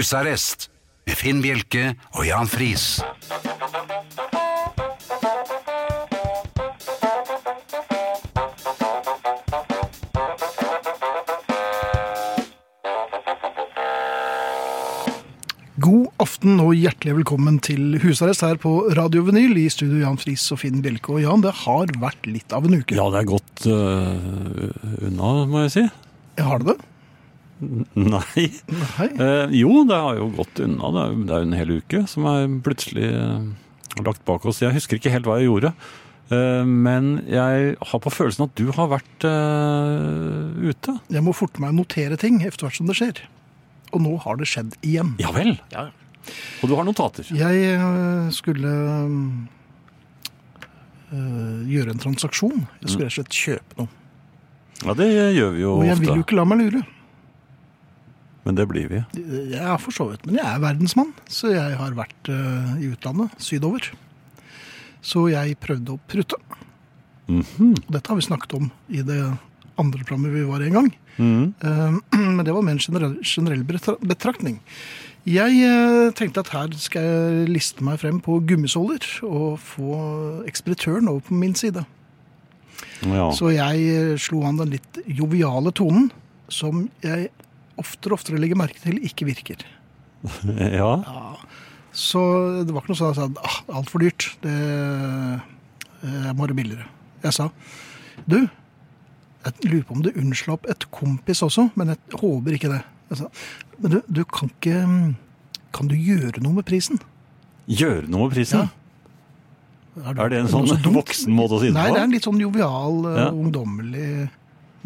Husarrest med Finn Bjelke og Jan Friis. God aften og hjertelig velkommen til husarrest her på Radio Vinyl i studio Jan Friis og Finn Bjelke. Og Jan, det har vært litt av en uke. Ja, det er godt øh, unna, må jeg si. Har det det? Nei. Nei. Eh, jo, det har jo gått unna. Det er jo- det er jo en hel uke som er plutselig eh, lagt bak oss. Jeg husker ikke helt hva jeg gjorde. eh, Men jeg har på følelsen at du har vært eh, ute. Jeg må forte meg å notere ting etter hvert som det skjer. Og nå har det skjedd igjen. Ja vel. Ja, ja. Og du har notater. Jeg øh, skulle øh, gjøre en transaksjon. Jeg Mm. skulle rett og slett kjøpe noe. Ja, det gjør vi jo Og jeg vil jo ofte. ikke la meg lure. Men det blir vi. Jeg er for så vidt, men jeg er verdensmann, så jeg har vært øh, i utlandet, sydover. Så jeg prøvde å prutte. Mhm. Og dette har vi snakket om i det andre programmet vi var i en gang. Mhm. Eh, Men det var mer en generell, generell betra- betraktning. Jeg eh, tenkte at her skal jeg liste meg frem på gummisåler og få ekspeditøren over på min side. Ja. Så jeg eh, slo an den litt joviale tonen som jeg oftere og oftere legger merke til ikke virker. ja. Så det var ikke noe sånn at jeg sa ah, altfor dyrt. Det, jeg må ha det billigere. Jeg sa du, jeg lurer på om du unnslapp et kompis også, men jeg håper ikke det. Jeg sa, men du, du kan ikke Kan du gjøre noe med prisen? Gjør noe med prisen. Er det en sånn noe så dumt? voksen måte å si det Nei, på? det er en litt sånn jovial, eh, Ja. ungdommelig,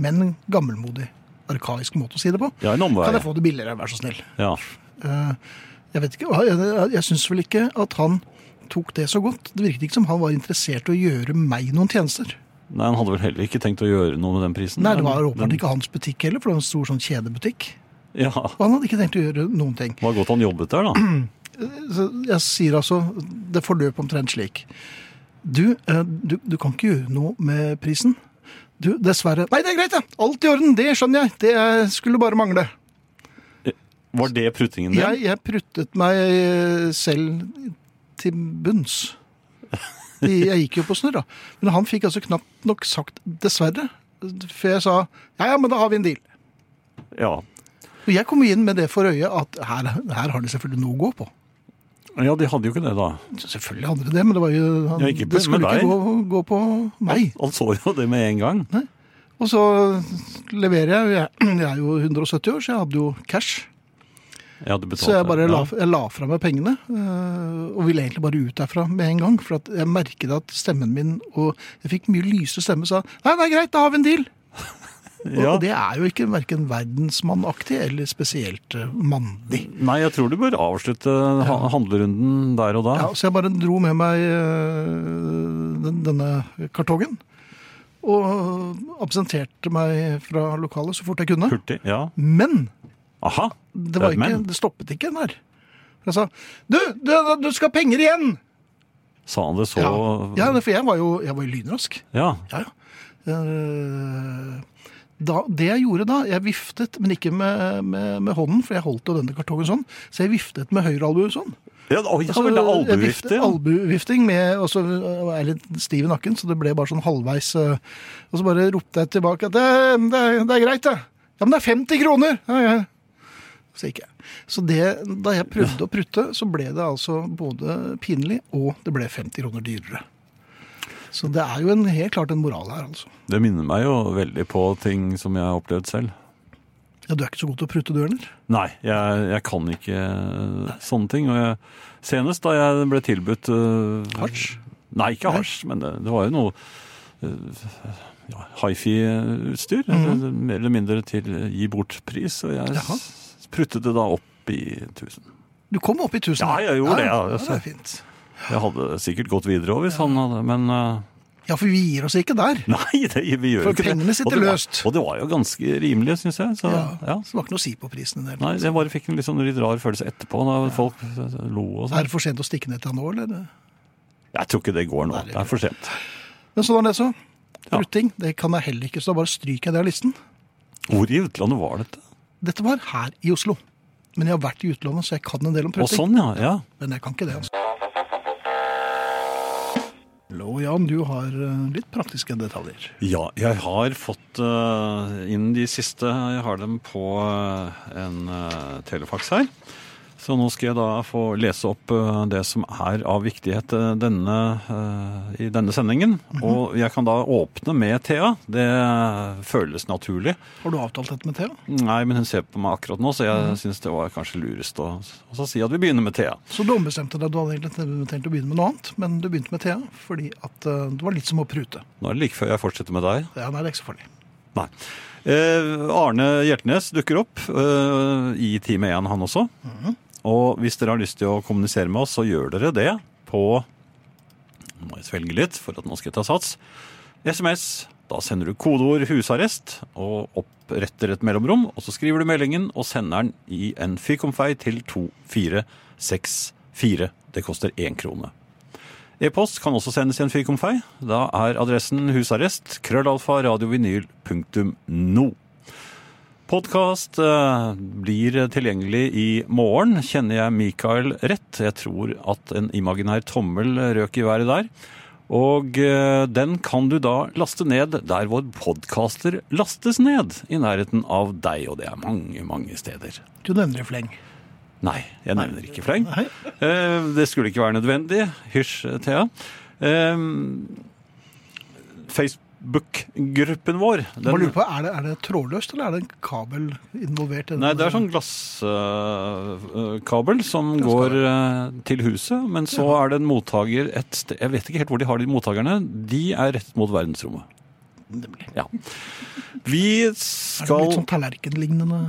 men gammelmodig, arkaisk måte å si det på. Ja, en omvei. Kan jeg få det billigere, vær så snill? Ja. Eh, Jeg vet ikke, jeg, jeg, jeg syns vel ikke at han tok det så godt. Det virket ikke som han var interessert i å gjøre meg noen tjenester. Nei, han hadde vel heller ikke tenkt å gjøre noe med den prisen. Nei, Det var Den- åpenbart ikke hans butikk heller, for det var en stor sånn kjedebutikk. Ja, Og han hadde ikke tenkt å gjøre noen ting. det var godt han jobbet der, da. Så jeg sier altså, det forløp omtrent slik. Du, eh, du, du kan ikke gjøre noe med prisen. Du, dessverre Nei, det er greit, det! Alt i orden, det skjønner jeg. Det eh, skulle bare mangle. Var det pruttingen din? Jeg, jeg pruttet meg eh, selv til bunns. De- Jeg gikk jo på snurr, da. Men han fikk altså knapt nok sagt 'dessverre'. Før jeg sa 'ja, ja, men da har vi en deal'. Ja. Og jeg kom inn med det for øye at her, her har de selvfølgelig noe å gå på. ja, de hadde jo ikke det, da. Så Selvfølgelig hadde de det, men det, var jo, han, Ja, ikke det skulle med ikke deg. gå, gå på meg. Han så jo det med en gang. Og så leverer jeg. jeg. Jeg er jo 170 år, så jeg hadde jo cash. Ja, du betalte. Så jeg bare la, ja. jeg la fra meg pengene, øh, og ville egentlig bare ut derfra med en gang. For at jeg merket at stemmen min, og jeg fikk mye lyse stemme, sa nei, det er greit, da har vi en deal. Og, Ja. og det er jo ikke verken verdensmannaktig eller spesielt øh, mandig. Nei, jeg tror du bør avslutte ha- handlerunden der og da. Ja, så jeg bare dro med meg øh, den, denne kartongen. Og absenterte meg fra lokalet så fort jeg kunne. Hurtig. Ja. Men Aha. Det, var ikke, Men, det stoppet ikke der. For Jeg sa du, du, du skal ha penger igjen! sa han det så Ja, ja det- for jeg var jo, jeg var jo lynrask. Ja. Ja, ja. Eh, Da, det jeg gjorde da, jeg viftet, men ikke med, med, med hånden, for jeg holdt jo denne kartongen sånn, så jeg viftet med høyre albue sånn. Ja, oi, ja, Altså, vel, det er jeg viftet- albuevifte. ja. Albuevifting med Og så var jeg litt stiv i nakken, så det ble bare sånn halvveis eh, Og så bare ropte jeg tilbake at det, det, det er greit, det. Ja, men det er 50 kroner! Ja, ja. Så gikk jeg. Så det, da jeg prøvde å prutte, så ble det altså både pinlig og det ble 50 kroner dyrere. Så det er jo en, helt klart en moral her, altså. Det minner meg jo veldig på ting som jeg har opplevd selv. Ja, Du er ikke så god til å prutte, du heller? Nei, jeg, jeg kan ikke eh, sånne ting. Og jeg, senest da jeg ble tilbudt øh, Hasj? Nei, ikke Nei. hasj, men det, det var jo noe eh, ja, hifi-utstyr. eller Mer eller mindre til eh, gi bort-pris. Og jeg Mhm. Jaha. s- pruttet det da opp i 1000. Du kom opp i 1000. Ja, jeg gjorde det, ja. ja, det er fint. Jeg hadde sikkert gått videre òg hvis han hadde Men eh, Ja, for vi gir oss ikke der. nei, det, vi gjør For jo ikke det. pengene sitter og det var, løst. Og det var jo ganske rimelig, syns jeg. Så, Ja, ja. Så det var ikke noe å si på prisen. i det hele Nei, tatt. jeg bare fikk en litt sånn litt rar følelse etterpå, da folk eh, lo og Er sånn. det for sent å stikke ned til han nå, eller? Jeg tror ikke det går nå. Det er for sent. Men sånn er det så. Ja. Rutting, det kan jeg heller ikke, så da bare stryker jeg det av listen. Hvor i utlandet var dette? Dette var her i Oslo. Men jeg har vært i utlandet, så jeg kan en del om Og prutting. sånn, ja. ja. Men jeg kan ikke det, altså. Hallo, Jan. Du har eh, litt praktiske detaljer. Ja, jeg har fått eh, inn de siste. Jeg har dem på eh, en eh, telefaks her. Så nå skal jeg da få lese opp eh, det som er av viktighet eh, denne, eh, i denne sendingen. Og jeg kan da åpne med Thea. Det eh, føles naturlig. Har du avtalt dette med Thea? Nei, men hun ser på meg akkurat nå, så jeg syns det var kanskje lurest å å så si at vi begynner med Thea. Så du ombestemte deg. Du hadde egentlig tenkt å begynne med noe annet, men du begynte med Thea fordi at eh, det var litt som å prute. Nå er det like før jeg fortsetter med deg. Ja, nei, det er ikke så farlig. Nei. Eh, Arne Hjertnes dukker opp eh, i time 1, han også. Og hvis dere har lyst til å kommunisere med oss, så gjør dere det på Nå må jeg svelge litt, for at nå skal jeg ta sats. SMS. Da sender du kodeord 'husarrest' og oppretter et mellomrom. Og så skriver du meldingen og sender den i en fyrkomfei til 2464. Det koster én krone. E-post kan også sendes i en fyrkomfei. Da er adressen husarrest krøllalfa radiovinyl punktum no. Podkast eh, blir tilgjengelig i morgen. Kjenner jeg Mikael rett? Jeg tror at en imaginær tommel røk i været der. Og eh, den kan du da laste ned der hvor podkaster lastes ned, i nærheten av deg. Og det er mange, mange steder. Du nevner i fleng. Nei, jeg nevner ikke fleng. Nei. Eh, Det skulle ikke være nødvendig. Hysj, Thea. Eh, Facebook-gruppen vår Bare den, lurer på, er det, er det trådløst, eller er det en kabel involvert? i den? Nei, det er sånn glasskabel som skal går eh, til huset, men så er det en mottaker et sted Jeg vet ikke helt hvor de har de mottakerne. De er rettet mot verdensrommet. Ja. Vi Er det skal litt sånn tallerkenlignende?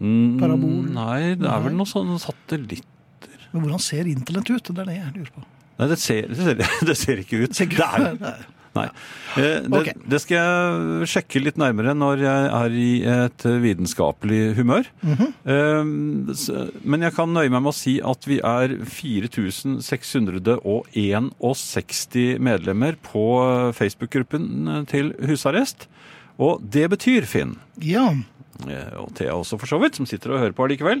Mm, parabol? Nei, det er vel Nei. noe sånn satellitt Men hvordan ser internett ut? Det er det jeg lurer på. Nei, det ser, det ser, det ser ikke ut. Det er, Nei. Eh, Det, Ok. det skal jeg sjekke litt nærmere når jeg er i et vitenskapelig humør. Eh, s- Men jeg kan nøye meg med å si at vi er 4661 medlemmer på Facebook-gruppen til husarrest. Og det betyr, Finn, Ja, eh, og Thea også for så vidt, som sitter og hører på allikevel,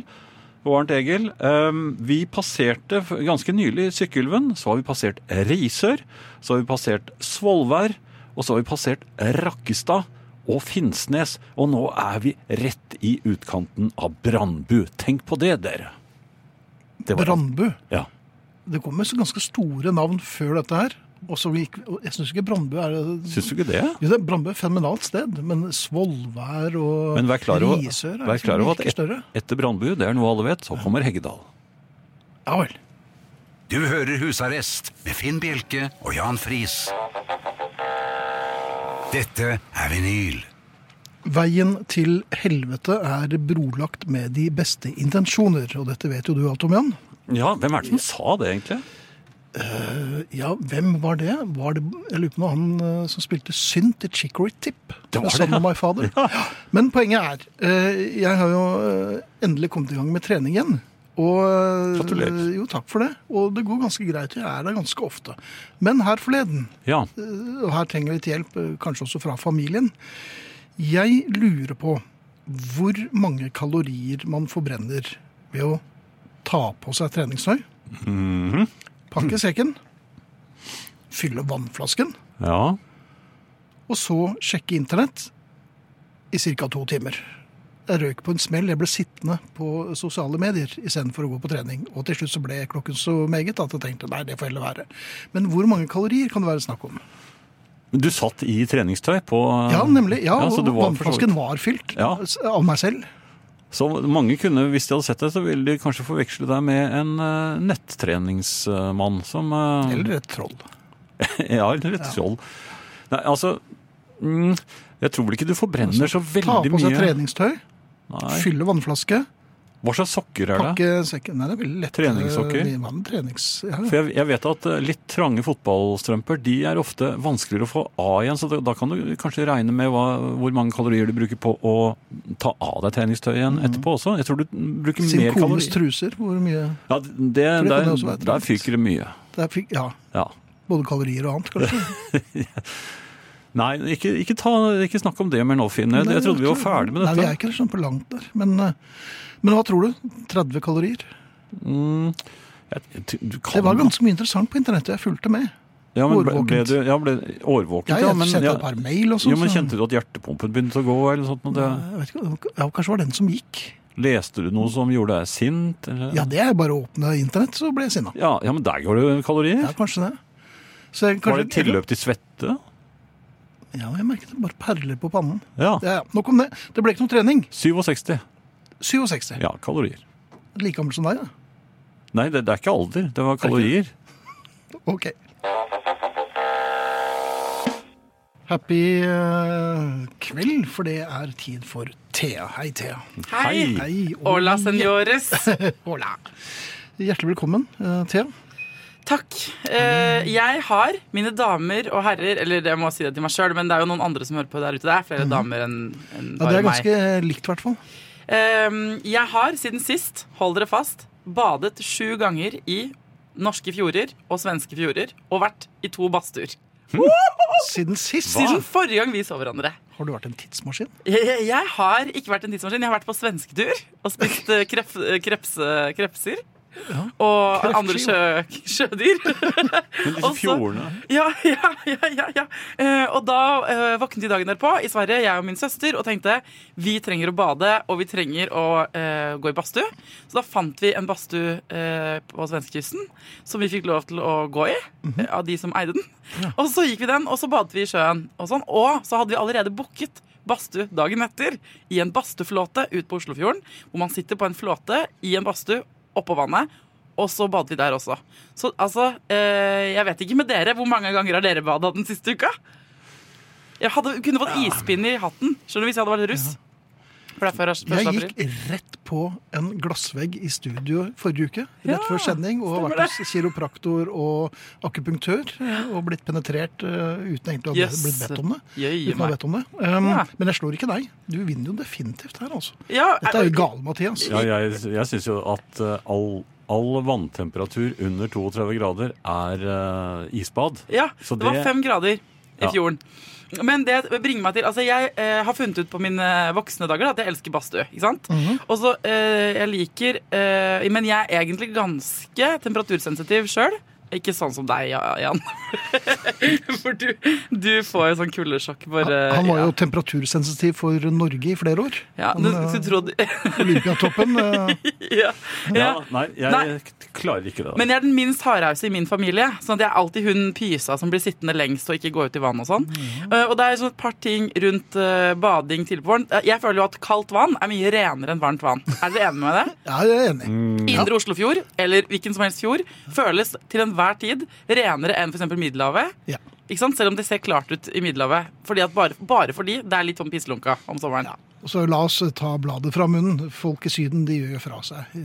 og Arnt Egil. ehm, Vi passerte f- ganske nylig Sykkylven, så har vi passert Risør, så har vi passert Svolvær, og så har vi passert Rakkestad og Finnsnes. Og nå er vi rett i utkanten av Brandbu. Tenk på det, dere. Det var- Brandbu. Ja. Det kom med så ganske store navn før dette her. Og så gikk, og jeg syns ikke Brandbu er Syns du ikke det? Jo, det er Brandbu er et fenomenalt sted, men Svolvær og Men vær klar over, Risør er vær liksom klar over at like et, større. etter Brandbu, det er noe alle vet, så kommer Heggedal. Ja vel. Du hører Husarrest med Finn Bjelke og Jan Friis. Dette er vinyl. Veien til helvete er brolagt med de beste intensjoner, og dette vet jo du alt om, Jan. Ja, hvem er det som sa det, egentlig? Ja, hvem var det? Var det jeg lurer på noe, han eh, som spilte synt i Chicory Tip? Det var Son det, ja. of My Father. Men poenget er, eh, jeg har jo eh, endelig kommet i gang med trening igjen. Og, eh, Gratulerer. Jo, takk for det. Og det går ganske greit. Jeg er der ganske ofte. Men her forleden, Ja. eh, og her trenger jeg litt hjelp, eh, kanskje også fra familien. Jeg lurer på hvor mange kalorier man forbrenner ved å ta på seg treningstøy, pakke sekken, fylle vannflasken, ja. og så sjekke internett i ca. to timer. Jeg røyk på en smell. Jeg ble sittende på sosiale medier istedenfor å gå på trening. Og til slutt så ble klokken så meget at jeg tenkte nei, det får heller være. Men hvor mange kalorier kan det være snakk om? Men Du satt i treningstøy på Ja, nemlig. Ja, Ah. så du og var for så vannflasken vidt- var fylt Ja. s- av meg selv. Så mange kunne, hvis de hadde sett deg, så ville de kanskje forveksle deg med en eh, nettreningsmann som eh, Eller et troll. Ja, eller et skjold. Nei, altså mm, Jeg tror vel ikke du forbrenner så Ta veldig på seg mye. treningstøy, Nei. fylle vannflaske, Hva slags sokker er det? pakke sekken Nei, det er veldig lett. eh, Treningssokker? Vi var med trenings... Ja, For jeg, jeg vet at eh, litt trange fotballstrømper de er ofte vanskeligere å få av igjen, så da, da kan du kanskje regne med hva, hvor mange kalorier du bruker på å ta av deg treningstøy igjen Mhm. etterpå også. Jeg tror du bruker Sin mer kones kalorier. truser, hvor mye Ja, det, det kan der, også være der trangt. fyker det mye. Der fikk, Ja, Ja. både kalorier og annet, kanskje. Nei, ikke, ikke, ta, ikke snakk om det mer nå, Finn. Jeg, jeg trodde vi var ferdig med eh, Nei, vi dette. er ikke sånn på langt der. Men, eh, men hva tror du? 30 kalorier? Jeg- jeg- du kan- Det var ganske mye interessant på internettet. Jeg fulgte med. ja, men ble, ble årvåkent. du, ja, ble, årvåkent. Jeg, ja, men, sendte ja, et par mail og sånn. jo, men så- Eh, Kjente du at hjertepumpen begynte å gå? eller sånt? og Det, Jeg vet ikke, ja, kanskje det var den som gikk. leste du noe som gjorde deg sint? Eller? Ja, det er bare å åpne internett, så ble jeg sinna. Ja, ja, men der går det jo kalorier. Ja, kanskje det. Så jeg, kanskje, Var det tilløp til svette? Ja, jeg merket det bare perler på pannen. Ja. Ja, ja, nok om det. Det ble ikke noe trening. 67. 67. Ja, kalorier. Like gammel som deg, da. Nei, det, det er ikke alder. Det var kalorier. Ok. Happy eh, kveld, for det er tid for Thea. Hei, Thea. Hei. Hei, og Hola, senores. Hola. Hjertelig velkommen, eh, Thea. Takk. Eh, jeg har, mine damer og herrer Eller jeg må si det til meg sjøl, men det er jo noen andre som hører på der ute. Det er flere damer enn enn Mhm. Ja, det bare er meg. ganske likt, i hvert fall. Eh, jeg har siden sist, hold dere fast, badet sju ganger i norske fjorder og svenske fjorder og vært i to badstuer. Siden sist Siden forrige gang vi så hverandre. har du vært en tidsmaskin. Jeg, jeg, jeg har ikke vært en tidsmaskin. Jeg har vært på svensketur og spist eh, kref, eh, kreps, eh, krepser. Og Krepser, andre sjø, sjødyr. Men disse Også- fjordene Ja, ja, ja, ja, ja. Eh, og da eh, våknet vi dagen derpå i Sverige, jeg og min søster, og tenkte vi trenger å bade og vi trenger å eh, gå i badstue. Så da fant vi en badstue eh, på svenskekysten som vi fikk lov til å gå i, eh, av de som eide den. Og så gikk vi den, og så badet vi i sjøen. Og, sånn. og så hadde vi allerede booket badstue dagen etter i en badstueflåte ut på Oslofjorden, hvor man sitter på en flåte i en badstue oppå vannet. Og så badet vi der også. Så altså, eh, jeg vet ikke med dere, hvor mange ganger har dere bada den siste uka? Jeg hadde, kunne fått ispinne i hatten skjønner du, hvis jeg hadde vært russ. For det er før Jeg 1. april. gikk rett på en glassvegg i studio forrige uke, rett Ja, før sending, og har stemmer vært hos kiropraktor og akupunktør, eh, og blitt penetrert eh, uten egentlig å ha Jøss. blitt bedt om det. Jøye Uten å ha meg. bedt om det. Um, Ja. Men jeg slår ikke deg. Du vinner jo definitivt her, altså. Ja, eh, Dette er jo gale, Mathias. Ja, jeg, jeg syns jo at eh, all, all vanntemperatur under 32 grader er eh, isbad. Ja, Så det, var det- fem grader i Ja. fjorden. Men det bringer meg til Altså, jeg eh, har funnet ut på mine eh, voksne dager da, at jeg elsker badstue. Ikke sant? Mhm. Og så eh, Jeg liker eh, Men jeg er egentlig ganske temperatursensitiv sjøl. Ikke sånn som deg, Ja- Jan. For du, du får jo sånn kuldesjokk bare Han var jo temperatursensitiv for Norge i flere år. ja, ja, Han, du, eh, du trodde, Olympiatoppen. eh, ja, Ja, ja. nei, jeg Nei. klarer ikke det. Men jeg er den minst hardhause i min familie. Sånn at jeg er alltid hun pysa som blir sittende lengst og ikke går ut i vann og sånn. Eh, og det er sånn et par ting rundt eh, bading tidlig på våren. Eh, jeg føler jo at kaldt vann er mye renere enn varmt vann. Er dere enige med det? Ja, jeg er enig. Indre Oslofjord, eller hvilken som helst fjord, føles til enhver tid renere enn f.eks. Middelhavet. Ja. Ikke sant? Selv om det ser klart ut i Middelhavet. Fordi at bare, bare fordi det er litt sånn pisslunka om sommeren. Og så la oss ta bladet fra munnen. Folk i Syden de gjør jo fra seg i,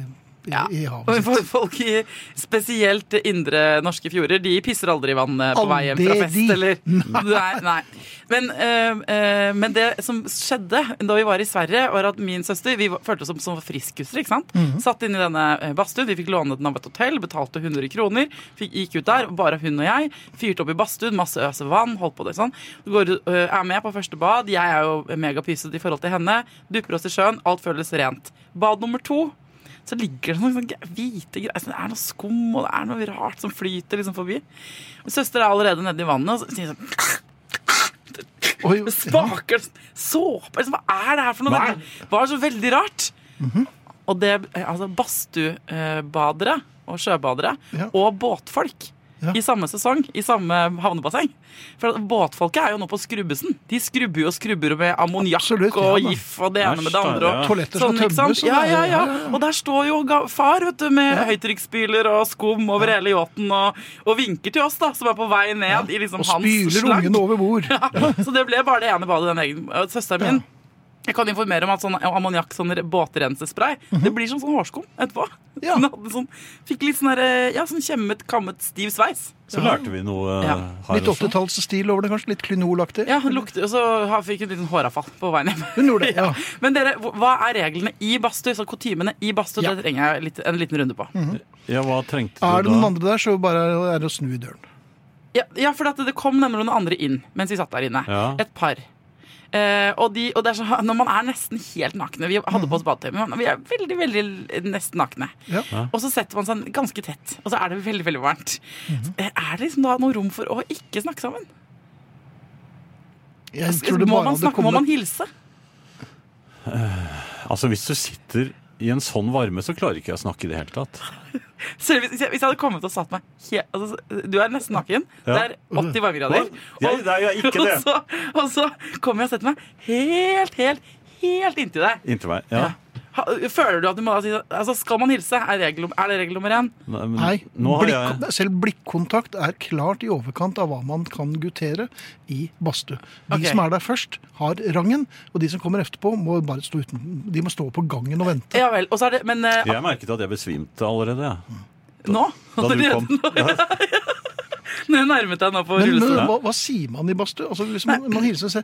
i, Ja. i Og havet. for- Folk i spesielt indre norske fjorder De pisser aldri i vann eh, på vei hjem fra Aldri fest. de. Eller? Nei, nei. Men, eh, eh, men det som skjedde da vi var i Sverige, var at min søster Vi var- følte oss som, som friskuser. ikke sant? Mm. Satt inn i denne eh, badstuen. Vi fikk låne den av et hotell, betalte 100 kroner. Fikk, gikk ut der, bare hun og jeg. Fyrte opp i badstuen, masse øse vann. holdt på det sånn. Går, eh, er med på første bad. Jeg er jo megapysete i forhold til henne. Dupper oss i sjøen. Alt føles rent. Bad nummer to så ligger det noen sånne ge- hvite greier. så Det er noe skum og det er noe rart som flyter liksom forbi. Og Søster er allerede nede i vannet og så sier sånn Oi, ja. det Spaker sånn, såpe liksom, Hva er det her for noe? Hva er Det var så veldig rart. Og det eh, Altså, badstuebadere og sjøbadere Ja. og båtfolk Ja. i samme sesong, i samme havnebasseng. For at båtfolket er jo nå på skrubbesen. De skrubber jo og skrubber med Absolutt, ammoniakk ja og da. gif og det ene Æsj, med det andre. da, Og ja. Toaletter skal Sånn, ikke sant? tømmes, og Ja, det er- ja, ja, ja, ja. ja. Og der står jo ga- far vet du, med høytrykksspyler og skum over hele yachten og, og vinker til oss, da, som er på vei ned i liksom Og hans spyler slang. ungene over bord. Ja, så det ble bare det ene badet den egen og Søsteren min Jeg kan informere om at sånn ammoniakk, sånn båtrensespray, det blir som sånn hårskum etterpå. Ja. Hun hadde sånn, fikk litt sånn der, ja, sånn kjemmet, kammet, stiv sveis. Så lærte vi noe eh, Ja. her Litt også. 80-tallsstil over det, kanskje. Litt klinolaktig. Ja, hun lukte, og så ha- fikk hun litt sånn håravfall på veien hjem. Hun gjorde det, ja. Men dere, hva- hva er reglene i badstue? Så kutimene i badstue, Ja. det trenger jeg litt, en liten runde på. Ja, hva trengte Er du det noen da? andre der, så bare er det å snu i døren. Ja, ja for at det kom nemlig noen andre inn mens vi satt der inne. Ja. Et par. Eh, og, de, og det er sånn, Når man er nesten helt nakne Vi hadde på oss badetøy, men vi er veldig veldig nesten nakne. Ja. Og så setter man seg ganske tett, og så er det veldig veldig varmt. Mhm. Eh, Er det liksom da noe rom for å ikke snakke sammen? Jeg tror det bare Altså, Må man hadde snakke, må man kommet hilse? Altså, hvis du sitter i en sånn varme, så klarer ikke jeg å snakke i det hele tatt. Selv hvis, hvis jeg hadde kommet og satt meg he- altså, Du er nesten naken. Ja. Det er 80 varmegrader. Jeg- nei, jeg er ikke og det. så, og så kommer jeg og setter meg helt, helt, helt inntil deg. Inntil meg. Ja. Ha- Føler du at du må da si altså, Skal man hilse? Er, regel, om- er det regel nummer én? Nei, men Nei, nå har blikk, jeg selv blikkontakt er klart i overkant av hva man kan guttere i badstue. De Ok. som er der først, har rangen, og de som kommer etterpå, må bare stå uten. De må stå på gangen og vente. Ja vel. Og så er det Men eh, Jeg merket at jeg besvimte allerede, jeg. nå? Da du Allerede kom. nå- Nå nærmet jeg nå på Men, men rullestolen. hva, hva sier man i badstue? Altså, hvis man, man hilser og sier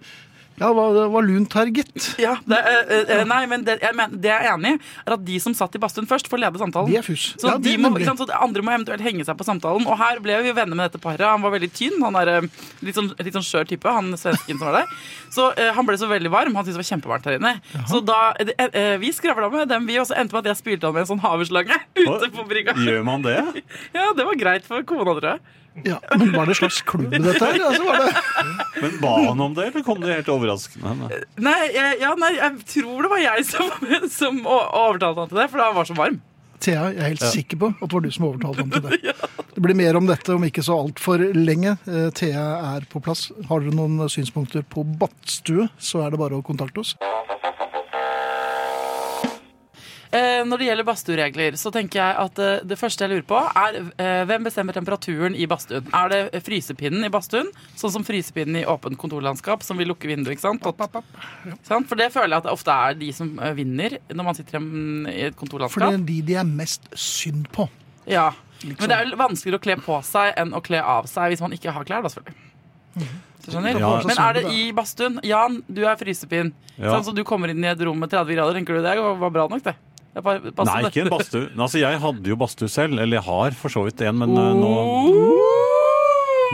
Ja, hva- det var lunt her, gitt. Ja, det, eh, eh, nei, men det jeg, mener, det jeg er enig i, er at de som satt i badstuen først, får lede samtalen. De er fus. Så, Ja, de det må, nemlig. ikke sant, så de andre må eventuelt henge seg på samtalen. Og her ble vi jo venner med dette paret. Han var veldig tynn. Han er eh, litt sånn, litt sånn skjør type, han svensken som var der. Så eh, han ble så veldig varm. Han syntes det var kjempevarmt her inne. Så da eh, eh, Vi skravla med dem, vi, og så endte med at jeg spylte han med en sånn haveslange ute på brygga. Gjør man det? Ja, det var greit for kona, tror jeg. Ja, men var det en slags klubb, dette her? Altså, var det... Men ba han om det, eller kom det helt overraskende? Nei. Nei, jeg, ja, nei, jeg tror det var jeg som, som o- overtalte han til det, for han var så varm. Thea, jeg er helt sikker på at det var du som overtalte ham til det. Det blir mer om dette om ikke så altfor lenge. Eh, Thea er på plass. Har dere noen synspunkter på badstue, så er det bare å kontakte oss. Eh, når det gjelder badstueregler, så tenker jeg at eh, det første jeg lurer på, er eh, hvem bestemmer temperaturen i badstuen? Er det frysepinnen i badstuen, sånn som frysepinnen i åpent kontorlandskap, som vil lukke vinduet? ikke sant? Tot- Ikke sant? For det føler jeg at det ofte er de som eh, vinner når man sitter i en- i et For det kontorlandskap. er de de er mest synd på. Ja. Liksom. Men det er jo vanskeligere å kle på seg enn å kle av seg hvis man ikke har klær, da selvfølgelig. Mhm. Så skjønner? Ja. Men er det i badstuen? Jan, du er frysepinn. Ja. Sånn, så du kommer inn i et rom med 30 grader, tenker du det var bra nok, det? Det var- passet, Nei, det. ikke en badstue. Altså, jeg hadde jo badstue selv, eller jeg har for så vidt en, men eh, nå,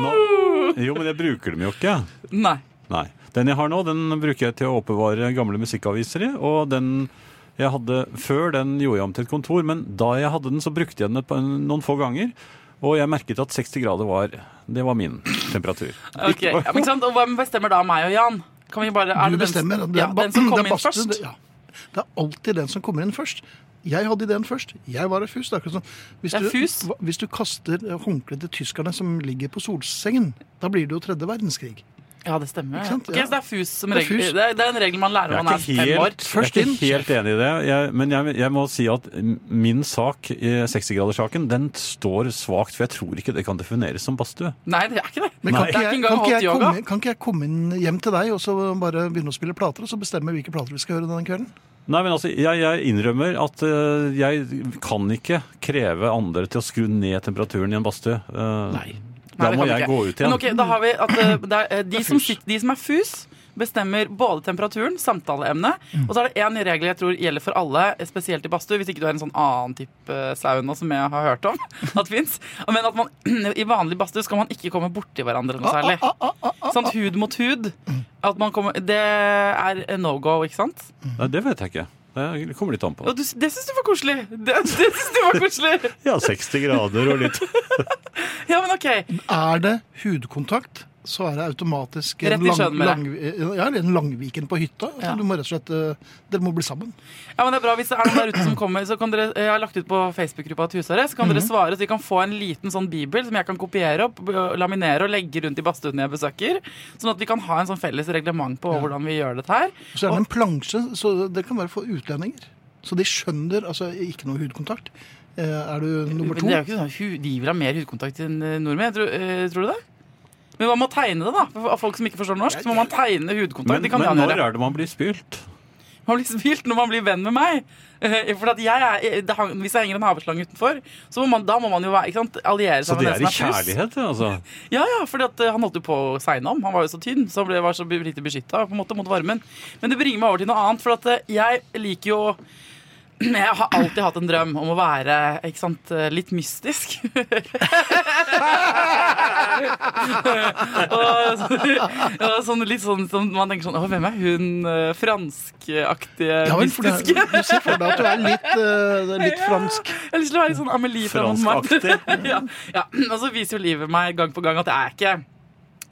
nå Jo, men jeg bruker dem jo ikke. Nei. Nei. Den jeg har nå, den bruker jeg til å oppbevare gamle musikkaviser i. Og den jeg hadde før, den gjorde jeg om til et kontor, men da jeg hadde den, så brukte jeg den et par- noen få ganger. Og jeg merket at 60 grader var Det var min temperatur. Ok, ja, men ikke sant? Og hvem bestemmer da meg og Jan? Kan vi bare, er Du det den- bestemmer. Det ja, er, ba- den som det kom er inn badstue, først? det- ja. Det er alltid den som kommer inn først. Jeg hadde ideen først. Jeg var refus. Det er akkurat sånn. Hvis, Det er du- fus. hva- hvis du kaster håndkleet til tyskerne som ligger på solsengen, da blir det jo tredje verdenskrig. Ja, det stemmer. Ikke sant? Ok, Ja. så det er fus som Det er regel. Det fus. er, det er en regel man lærer Jeg når er man er ikke fem år. helt, jeg er Først inn, ikke helt enig i det. Jeg, men jeg, jeg må si at min sak, eh, 60-graderssaken, den står svakt. For jeg tror ikke det kan defineres som badstue. Nei, det er ikke det. Men kan, det ikke er ikke jeg, engang kan, ikke hot jeg yoga. komme, kan ikke jeg komme inn hjem til deg og så bare begynne å spille plater, og så bestemme hvilke plater vi skal høre denne kvelden? Nei, men altså, jeg, jeg innrømmer at eh, jeg kan ikke kreve andre til å skru ned temperaturen i en badstue. Eh, Da Nei, det må kan vi jeg ikke. gå ut igjen. Men ok, da har vi at eh, det er, eh, de, som sitter, de som er fus, bestemmer både temperaturen, samtaleemnet, Mm. og så er det én regel jeg tror gjelder for alle, eh, spesielt i badstue, hvis ikke du er en sånn annen type sauna som jeg har hørt om at fins. Men at man i vanlig badstue skal man ikke komme borti hverandre noe særlig. Ah, Sant, hud mot hud. At man kommer, det er en no go, ikke sant? Nei, det vet jeg ikke. Det kommer litt an på. Og du, det syns du var koselig! Det, det synes du var koselig Ja, 60 grader og litt Ja, men OK. Er det hudkontakt, så er det automatisk Rett i skjønn med eh, ja, eller en langviken på hytta. Ja. Du må rett og slett, eh, dere må bli sammen. Ja, men det er bra Hvis det er noen der ute som kommer, så kan dere Jeg har lagt ut på Facebook-gruppa til Husarrest. Så kan Mhm. dere svare, så vi kan få en liten sånn bibel som jeg kan kopiere opp, b- laminere og legge rundt i badstuen jeg besøker. Sånn at vi kan ha en sånn felles reglement på hvordan vi gjør dette her. Så er det en plansje, så det kan være for utlendinger. Så de skjønner altså ikke noe hudkontakt. Eh, Er du Men nummer det to? er jo ikke sånn, hu- De vil ha mer hudkontakt enn eh, nordmenn. Tror, eh, tror du det? Men hva med å tegne det, da? For folk som ikke forstår norsk, så må man tegne hudkontakt. Men, det men kan Jan når gjøre. er det man blir spylt? Man blir spilt når man blir venn med meg. Eh, For at jeg er, det hang, Hvis jeg henger en haveslange utenfor, så må man, da må man jo være, ikke sant, alliere Så seg det med er i den som er fus. kjærlighet, ja, altså. Ja, ja, fordi at eh, han holdt jo på å segne om. Han var jo så tynn, så han ble, var så be- lite beskytta mot varmen. Men det bringer meg over til noe annet, for at eh, jeg liker jo Jeg har alltid hatt en drøm om å være ikke sant, eh, litt mystisk. og, ja, sånn, litt sånn som man tenker sånn Å, hvem er hun eh, franskaktige Ja vel, for det, mystiske? du ser for deg at du er litt, eh, litt fransk. Jeg har lyst til å være litt sånn Amelie fra Montmartre. ja, ja. Og så viser jo livet meg gang på gang at jeg er ikke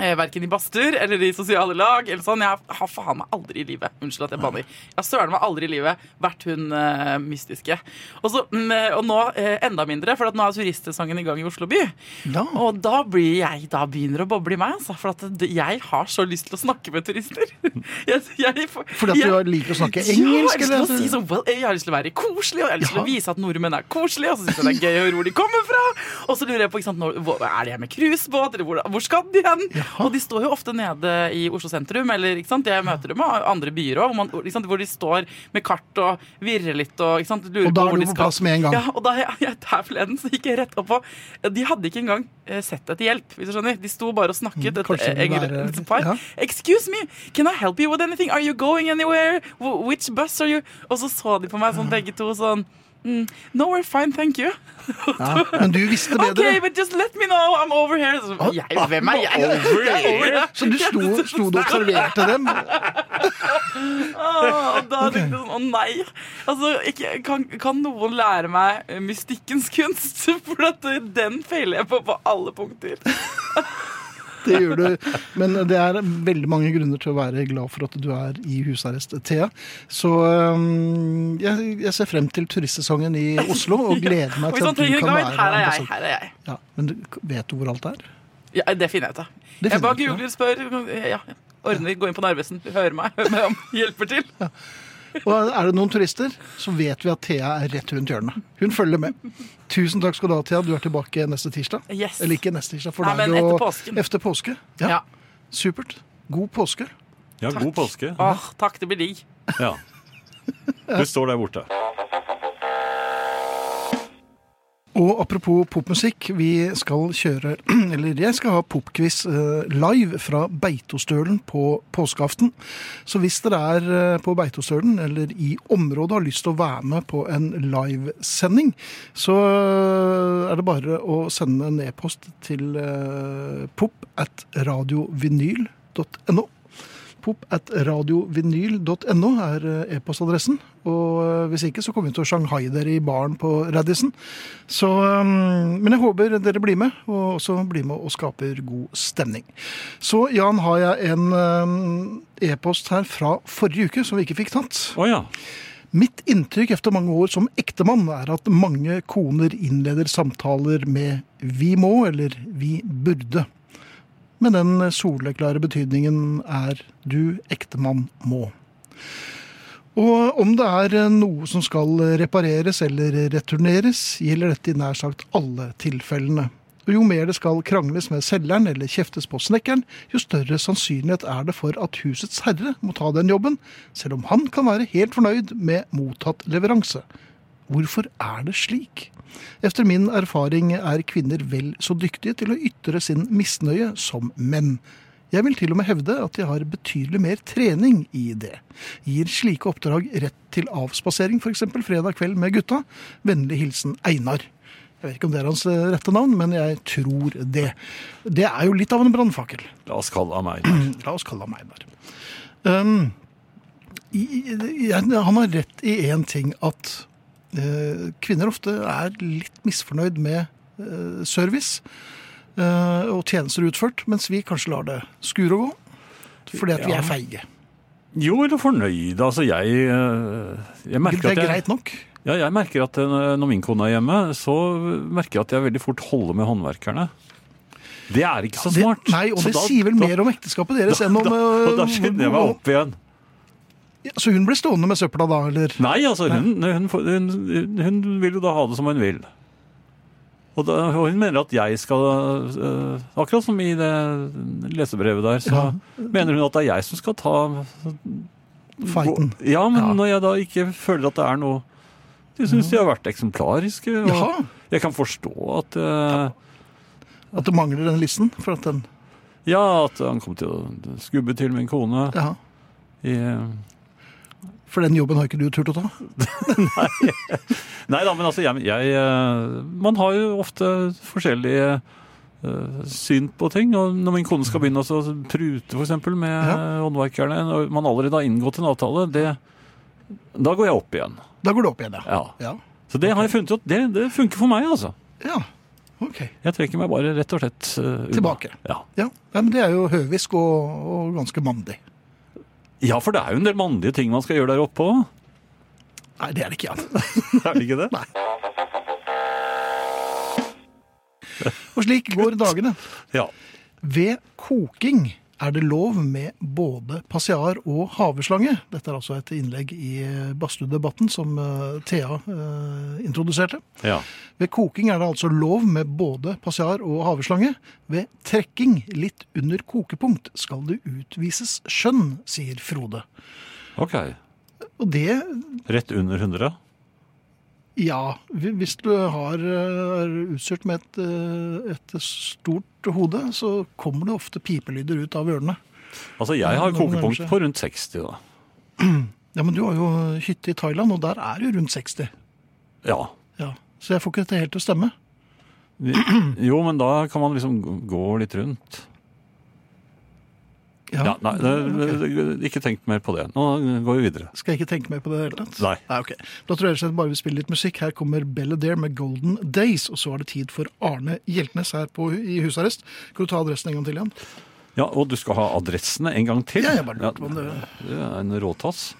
eh, Verken i badstuer eller i sosiale lag. eller sånn. Jeg har faen meg aldri i livet Unnskyld at jeg banner. Jeg har søren meg aldri i livet vært hun eh, mystiske. Og, så, mm, eh, og nå eh, enda mindre, for at nå er turistsesongen i gang i Oslo by. Ja. Og da, blir jeg, da begynner det å boble i meg, altså, for at det- jeg har så lyst til å snakke med turister. Jeg, jeg, Fordi at du har- liker å snakke engelsk, Ja, jeg har lyst eller? altså- til å si sånn, well, jeg har lyst til å være koselig, og jeg har lyst til å Ja. vise at nordmenn er koselige, og så synes jeg det er gøy å høre hvor de kommer fra. Og så lurer jeg på, ikke sant, når, hvor, er de her med cruisebåt, eller hvor, hvor skal de hen? Og de står jo ofte nede i Oslo sentrum, eller ikke sant, jeg møter dem og andre byer også, hvor, man, ikke sant, hvor de står med kart og virrer litt, og ikke sant, lurer Og da på er hvor du de på skal. plass med en gang. Ja, og da jeg, jeg der forleden så gikk jeg rett opp på De hadde ikke engang eh, sett etter hjelp, hvis du skjønner. De sto bare og snakket. Mm, et, kanskje eh, det engel- er- et par. ja. Excuse me, can I help you with anything? Are you going anywhere? Wh- Which bus are you? Og så så de på meg sånn begge to sånn mm, No, we're fine, thank you. Ja. Men du visste bedre. OK, but just let me know, I'm over here. Så, jeg, hvem er jeg? Jeg er over her. Så du sto, sto du og observerte dem? Åh, og da tenkte jeg sånn, å nei altså, ikke, kan, kan noen lære meg eh, mystikkens kunst? For at eh, den feiler jeg på på alle punkter. Det gjør du. Men det er veldig mange grunner til å være glad for at du er i husarrest, Thea. Så øhm, jeg, jeg ser frem til turistsesongen i Oslo og gleder meg til Og hvis at han du trenger en kan guide, være her er jeg. ambassad- her er jeg Ja, men du, vet du hvor alt er? ja, Det finner jeg ut av. Det Jeg finner jeg bare ut av. googler, spør, ja, ordner, går inn på Narvesen, hører meg, hører meg om, hjelper til. Og er det noen turister, så vet vi at Thea er rett rundt hjørnet. Hun følger med. Tusen takk skal du ha, Thea. Du er tilbake neste tirsdag. Yes. Eller ikke neste tirsdag, for Nei, da er men det jo etter påsken. Efter påske. Ja, Ja. Supert. God påske. Ja, god påske. Åh, takk, det blir digg. Ja. Du står der borte. Og apropos popmusikk, vi skal kjøre Eller jeg skal ha popquiz eh, live fra Beitostølen på påskeaften. Så hvis dere er eh, på Beitostølen eller i området og har lyst til å være med på en livesending, så eh, er det bare å sende en e-post til eh, pop at radiovinyl.no. Pop at radiovinyl.no er eh, e-postadressen. Og eh, hvis ikke, så kommer vi til å Shanghai dere i baren på Radisson. Så, um, men jeg håper dere blir med, og også blir med og skaper god stemning. Så Jan, har jeg en um, e-post her fra forrige uke som vi ikke fikk tatt. Å ja. Mitt inntrykk efter mange år som ektemann er at mange koner innleder samtaler med 'vi må' eller 'vi burde'. Men den soleklare betydningen er 'du ektemann må'. Og om det er eh, noe som skal repareres eller returneres, gjelder dette i nær sagt alle tilfellene. Og jo mer det skal krangles med selgeren eller kjeftes på snekkeren, jo større sannsynlighet er det for at husets herre må ta den jobben, selv om han kan være helt fornøyd med mottatt leveranse. Hvorfor er det slik? Efter min erfaring er kvinner vel så dyktige til å ytre sin misnøye som menn. Jeg vil til og med hevde at de har betydelig mer trening i det. Gir slike oppdrag rett til avspasering f.eks. fredag kveld med gutta? Vennlig hilsen Einar. Jeg vet ikke om det er hans eh, rette navn, men jeg tror det. Det er jo litt av en brannfakkel. La oss kalle ham meg. La oss kalle ham Einar. Um, i, i- jeg- han har rett i én ting, at eh, kvinner ofte er litt misfornøyd med eh, service eh, og tjenester utført, mens vi kanskje lar det skure og gå. Fordi at vi er Ja. feige. Jo, eller fornøyd. Altså, jeg, eh, jeg Det merker er at jeg, greit nok. ja, jeg merker at eh, når min kone er hjemme, så merker jeg at jeg veldig fort holder med håndverkerne. Det er ikke så Det, smart. nei, og Så det da- sier vel da- mer om ekteskapet deres enn om da, og da eh, skynder jeg meg opp igjen. Ja, Så hun ble stående med søpla da, eller? Nei, altså, hun, hun, får- hun, hun vil jo da ha det som hun vil. Og, da, og hun mener at jeg skal eh, Akkurat som i det lesebrevet der, så mener hun at det er jeg som skal ta Fighten. Ja, men Ja. når jeg da ikke føler at det er noe De syns de har vært eksemplariske. Og Jaha. Jeg kan forstå at eh, At det mangler den listen? For at den, Ja, at han kom til å skubbe til min kone ja. i eh, For den jobben har ikke du turt å ta. Nei da, men altså, jeg, jeg eh, Man har jo ofte forskjellige eh, syn på ting. og Når min kone skal begynne å prute for eksempel, med Ja. håndverkerne, når man allerede har inngått en avtale, det, da går jeg opp igjen. Da går det opp igjen, ja. Ja. Ja, Så det har jeg funnet ut. Det, det funker for meg, altså. ja. ok. Jeg trekker meg bare rett og slett eh, unna. Tilbake. Ja. Ja. Nei, men det er jo høvisk og, og ganske mandig. ja, for det er jo en del mannlige ting man skal gjøre der oppe òg. Nei, det er det ikke, Jan. Er det ikke det? Og slik går dagene. Ja. Ved koking er det lov med både passiar og haveslange. Dette er altså et innlegg i eh, Badstuedebatten som eh, Thea eh, introduserte. ja. Ved koking er det altså lov med både passiar og haveslange. Ved trekking litt under kokepunkt skal det utvises skjønn, sier Frode. OK. Og det, Rett under 100? ja, hvis du har, eh, er utstyrt med et, eh, et stort hode, så kommer det ofte pipelyder ut av ørene. Altså, jeg Ja, har nå nærmer kokepunkt seg. på rundt 60, da. Ja, men du har jo hytte i Thailand, og der er jo rundt 60. Ja. Ja. Så jeg får ikke dette helt til å stemme. Jo, men da kan man liksom gå litt rundt. Ja, nei, det, det- Ikke tenk mer på det. Nå går vi videre. Skal jeg ikke tenke mer på det i det hele tatt? Nei. ok. Da tror jeg rett og slett bare vi spiller litt musikk. Her kommer Belladere med Golden Days, og så er det tid for Arne Hjeltnes her på, i husarrest. Kan du ta adressen en gang til igjen? Ja, Og du skal ha adressene en gang til? Ja, jeg bare lurte på om det- det er En råtass.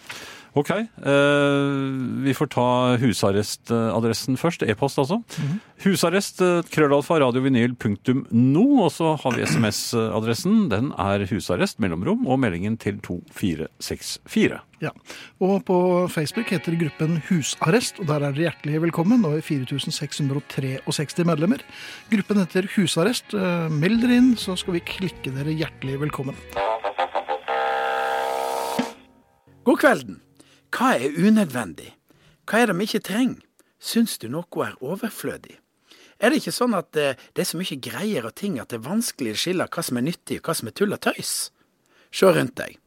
Ok, eh, vi får ta husarrestadressen først. E-post, altså. Mhm. Husarrest eh, krøllalfa radiovinyl.no, og så har vi SMS-adressen. Den er husarrest mellomrom og meldingen til 2464. Ja. Og på Facebook heter gruppen Husarrest, og der er dere hjertelig velkommen. Og er 4663 medlemmer. Gruppen heter Husarrest. Eh, Meld dere inn, så skal vi klikke dere hjertelig velkommen. God kvelden. Hva er unødvendig? Hva er det vi ikke trenger? Syns du noe er overflødig? Er det ikke sånn at eh, det er så mye greier og ting at det er vanskelig å skille hva som er nyttig og hva som er tull og tøys? Se rundt deg.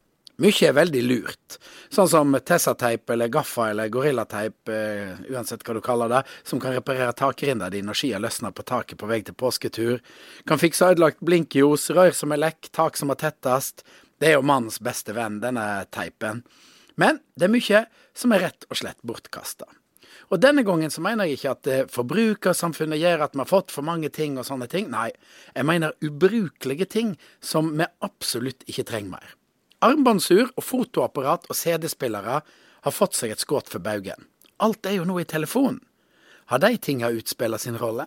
Mykje er veldig lurt, sånn som Tessa-teip eller Gaffa eller Gorillateip, eh, uansett hva du kaller det, som kan reparere takrinda di når skia løsner på taket på vei til påsketur, kan fikse ødelagt blinkljos, rør som er lekk, tak som må tettast. Det er jo mannens beste venn, denne teipen. Men det er mykje som er rett og slett bortkasta. Og denne gangen så mener jeg ikke at eh, forbrukersamfunnet gjør at vi har fått for mange ting og sånne ting. Nei, jeg mener ubrukelige ting som vi absolutt ikke trenger mer. Armbåndsur og fotoapparat og CD-spillere har fått seg et skudd for baugen. Alt er jo nå i telefonen. Har de tinga utspilla sin rolle?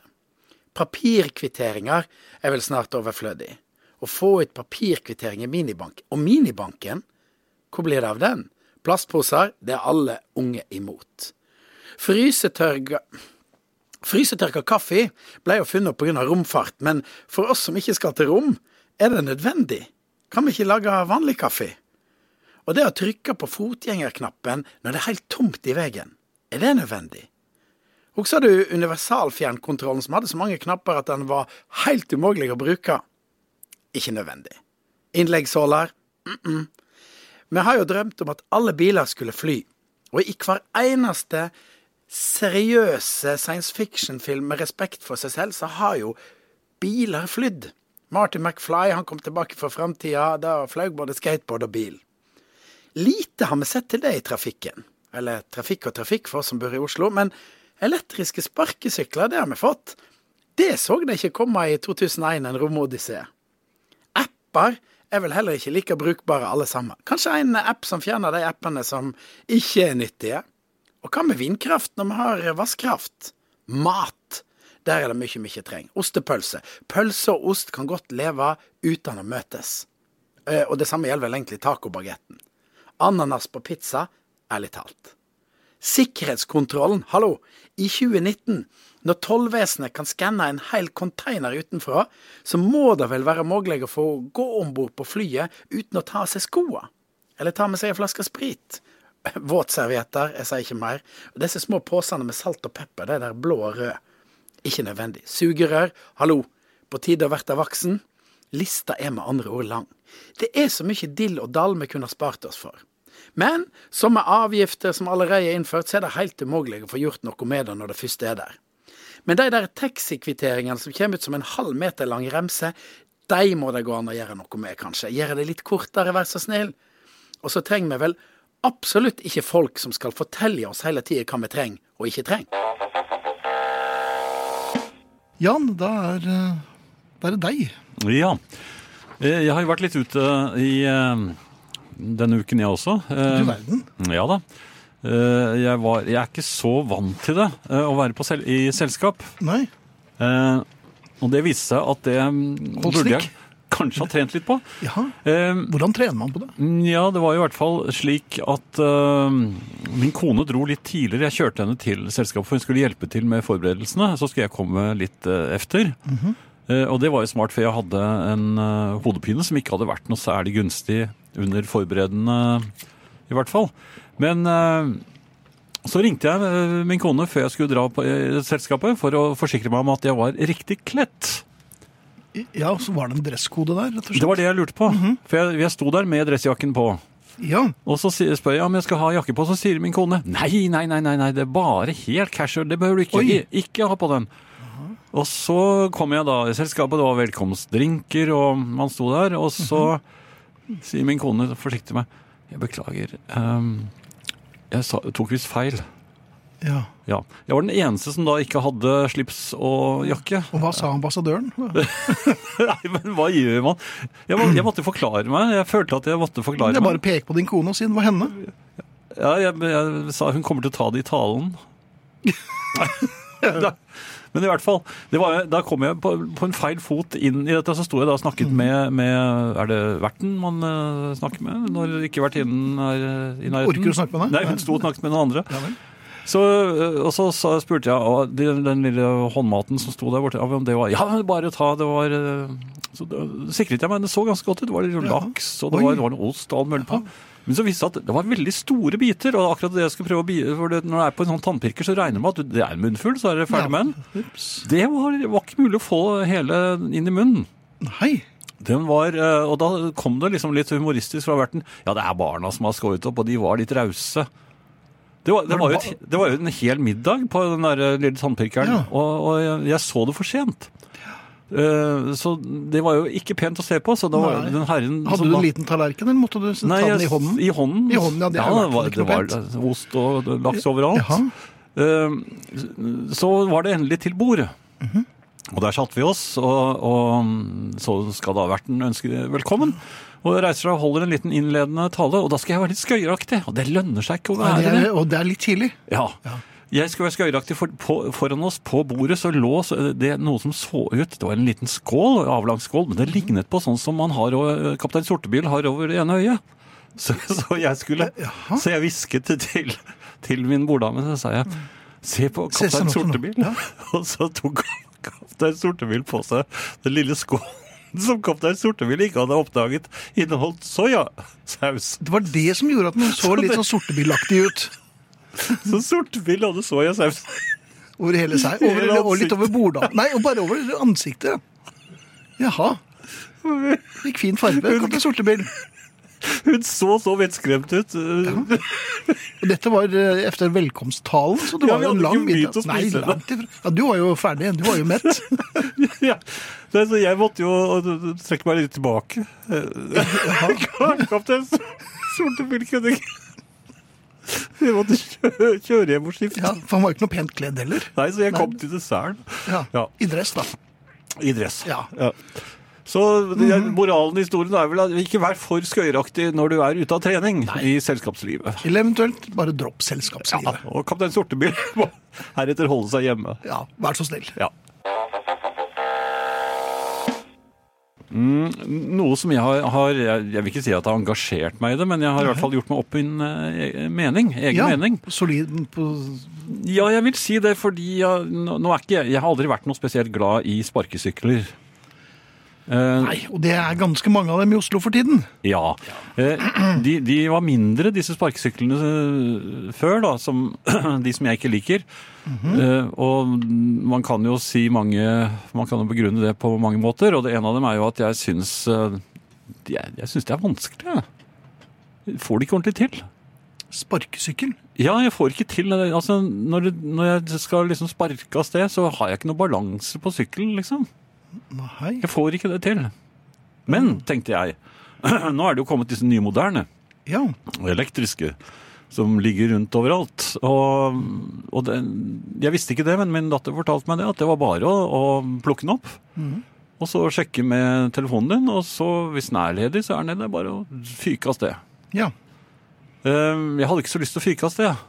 Papirkvitteringer er vel snart overflødig. Å få ut papirkvittering i minibank, og minibanken, hvor blir det av den? Plastposer, det er alle unge imot. Frysetørga Frysetørka kaffe ble jo funnet opp pga. romfart, men for oss som ikke skal til rom, er det nødvendig? Kan vi ikke lage vanlig kaffe? Og det å trykke på fotgjengerknappen når det er helt tomt i veien, er det nødvendig? Husker du universalfjernkontrollen som hadde så mange knapper at den var helt umulig å bruke? Ikke nødvendig. Innleggssåler? Vi har jo drømt om at alle biler skulle fly, og i hver eneste seriøse science fiction-film med respekt for seg selv, så har jo biler flydd. Martin McFly han kom tilbake fra framtida, da fløy både skateboard og bil. Lite har vi sett til det i trafikken. Eller trafikk og trafikk for oss som bor i Oslo, men elektriske sparkesykler, det har vi fått. Det så de ikke komme i 2001, en romodyssé. Apper er vel heller ikke like brukbare alle sammen. Kanskje en app som fjerner de appene som ikke er nyttige. Og hva med vindkraft når vi har vannkraft? Mat. Der er det mye vi ikke trenger. Ostepølse. Pølse og ost kan godt leve uten å møtes. Eh, Og det samme gjelder vel egentlig tacobagetten. Ananas på pizza, ærlig talt. Sikkerhetskontrollen, hallo! I 2019, når tollvesenet kan skanne en hel container utenfra, så må det vel være mulig å få gå om bord på flyet uten å ta av seg skoa? Eller ta med seg en flaske sprit? Våtservietter, jeg sier ikke mer. Og Disse små posene med salt og pepper, det der blå og røde. Ikke nødvendig. Sugerør, hallo, på tide å verte voksen? Lista er med andre ord lang. Det er så mye dill og dall vi kunne ha spart oss for. Men som med avgifter som allerede er innført, så er det helt umulig å få gjort noe med det når det først er der. Men de der taxikvitteringene som kommer ut som en halv meter lang remse, de må det gå an å gjøre noe med, kanskje. Gjøre det litt kortere, vær så snill. Og så trenger vi vel absolutt ikke folk som skal fortelle oss hele tida hva vi trenger og ikke trenger. Jan, da er, eh, da er det deg. Ja. Eh, Jeg har jo vært litt ute i eh, denne uken, jeg også. Eh, Du verden. Ja da. Eh, Jeg, var, jeg er ikke så vant til det, eh, å være på sel i selskap. Nei. Eh, Og det viste seg at det mm, Hold burde jeg stikk. kanskje ha trent litt på. Jaha. Eh, Hvordan trener man på det? Ja, det var i hvert fall slik at øh, min kone dro litt tidligere. Jeg kjørte henne til selskapet, for hun skulle hjelpe til med forberedelsene. Så skulle jeg komme litt øh, efter. Eh, og det var jo smart, for jeg hadde en øh, hodepine som ikke hadde vært noe særlig gunstig under forberedende, i hvert fall. Men øh, så ringte jeg øh, min kone før jeg skulle dra på øh, selskapet, for å forsikre meg om at jeg var riktig kledt. I- Ja, så var det en dresskode der, rett og slett. Det var det jeg lurte på. For jeg, jeg sto der med dressjakken på. Ja. Og så sier- spør jeg om jeg skal ha jakke på, så sier min kone Nei, nei, nei, nei, nei det er bare helt casual, det behøver du ikke, Oi. I- ikke ha på den. Og så kom jeg da i selskapet, det var velkomstdrinker, og man sto der, og så sier min kone forsiktig til meg Jeg beklager, ehm, jeg sa, tok visst feil. ja. Ja. Jeg var den eneste som da ikke hadde slips og jakke. Og hva sa ambassadøren? Nei, men hva gjør man? Jeg, må, jeg måtte forklare meg. Jeg følte at jeg måtte forklare Jeg meg. bare peker på din kone og sier det var henne. Ja, jeg, jeg sa hun kommer til å ta det i talen. Nei, Men i hvert fall, det var, da kom jeg på, på en feil fot inn i dette. Så sto jeg da og snakket Mm. med, med Er det verten man eh, snakker med når ikke vertinnen er eh, i nærheten? Orker du å snakke med deg? Nei, hun sto og snakket med noen andre. Ja vel. Så, øh, og så, sa- spurte jeg og den, den lille håndmaten som sto der borte, ja, om det var Ja, men bare ta, det var øh, Så da sikret jeg meg. Det så ganske godt ut. Det var litt laks, og det Oi. var, det var noe ost og all mulig på. Men så viste det seg at det var veldig store biter. Og akkurat det jeg skulle prøve å bi, for det, Når det er på en sånn tannpirker, så regner man at du- det er en munnfull, så er det ferdig Ja. med den. Det var, var ikke mulig å få hele inn i munnen. Nei. Den var, eh, og da kom det liksom litt humoristisk fra verten. Ja, det er barna som har skåret opp, og de var litt rause. Det var, det, var jo et, det var jo en hel middag på den der eh, lille tannpirkeren, Ja. og, og jeg, jeg så det for sent. Eh, Så det var jo ikke pent å se på, så da var Nei. den herren som Hadde du da- en liten tallerken, eller måtte du ta Nei, den jeg- i hånden? I hånden, I hånden, ja, det er i hvert fall var, ikke det noe var ost og laks overalt. Jaha. Eh, Så var det endelig til bordet. Mhm. Og der satt vi oss, og, og mm, så skal da verten ønske velkommen. Og reiser seg og holder en liten innledende tale, og da skal jeg være litt skøyeraktig. Og det lønner seg ikke å Nei, være det det. er, og det er litt tidlig. Ja. Jeg skulle være skøyeraktig, for på, foran oss på bordet så lå så- det noe som så ut Det var en liten skål, en avlang skål, men det lignet på sånn som man har, og kaptein Sortebil har over det ene øyet. Så, så jeg skulle Så jeg hvisket det til, til min borddame, så sa jeg Se på Se seg nå kaptein for noe." Sortebil. Og så tok kaptein Sortebil på seg den lille skålen som kaptein Sortebil ikke hadde oppdaget inneholdt soyasaus. Det var det som gjorde at den så litt sånn sortebilaktig ut. Så Sortebil hadde soyasaus. Over hele seg. Over, Hele og litt over borda. Nei, og bare over ansiktet. Jaha. Fikk fin farge. Kom til sortebil. Hun så så vettskremt ut. Og dette var eh, efter velkomsttalen, så det Ja, var jo vi en hadde lang ikke begynt middag. å Nei, spise det. langt ifra. Ja, du var jo ferdig. Du var jo mett. Ja. Nei, Så jeg måtte jo øh, trekke meg litt tilbake. Kaptein Sortefyll kunne ikke Jeg måtte kjø- kjøre hjem og skifte. Ja, for han var jo ikke noe pent kledd heller. Nei, så jeg kom til desserten Ja. Ja. I dress, da. i dress. Ja. Mhm. Så jeg, moralen i historien er vel at ikke vær for skøyeraktig når du er ute av trening i selskapslivet. Eller eventuelt bare dropp selskapslivet. Og kaptein Sorteby må heretter holde seg hjemme. Ja, vær så snill. Ja. Mm, noe som jeg har, har jeg, jeg vil ikke si at jeg har engasjert meg i det, men jeg har i hvert fall gjort meg opp min eh, mening. Egen Ja, mening. solid på Ja, jeg vil si det, fordi jeg, nå nå er ikke jeg Jeg har aldri vært noe spesielt glad i sparkesykler. Eh, Nei, og det er ganske mange av dem i Oslo for tiden. ja. Eh, De, de var mindre, disse sparkesyklene eh, før, da, som, de som jeg ikke liker. Eh, Og man kan jo si mange Man kan jo begrunne det på mange måter, og det ene av dem er jo at jeg syns eh, de er- Jeg syns det er vanskelig. jeg. får det ikke ordentlig til. Sparkesykkel? Ja, jeg får ikke til det. Altså, når, det- når jeg skal liksom sparke av sted, så har jeg ikke noe balanse på sykkelen, liksom. Nei. Jeg får ikke det til. Men, tenkte jeg, nå er det jo kommet disse nye moderne Ja. og elektriske som ligger rundt overalt. Og, og det, jeg visste ikke det, men min datter fortalte meg det, at det var bare å, å plukke den opp. Og så sjekke med telefonen din, og så hvis den er ledig, så er den ledig. Det er Bare å fyke av sted. ja. Eh, Jeg hadde ikke så lyst til å fyke av sted.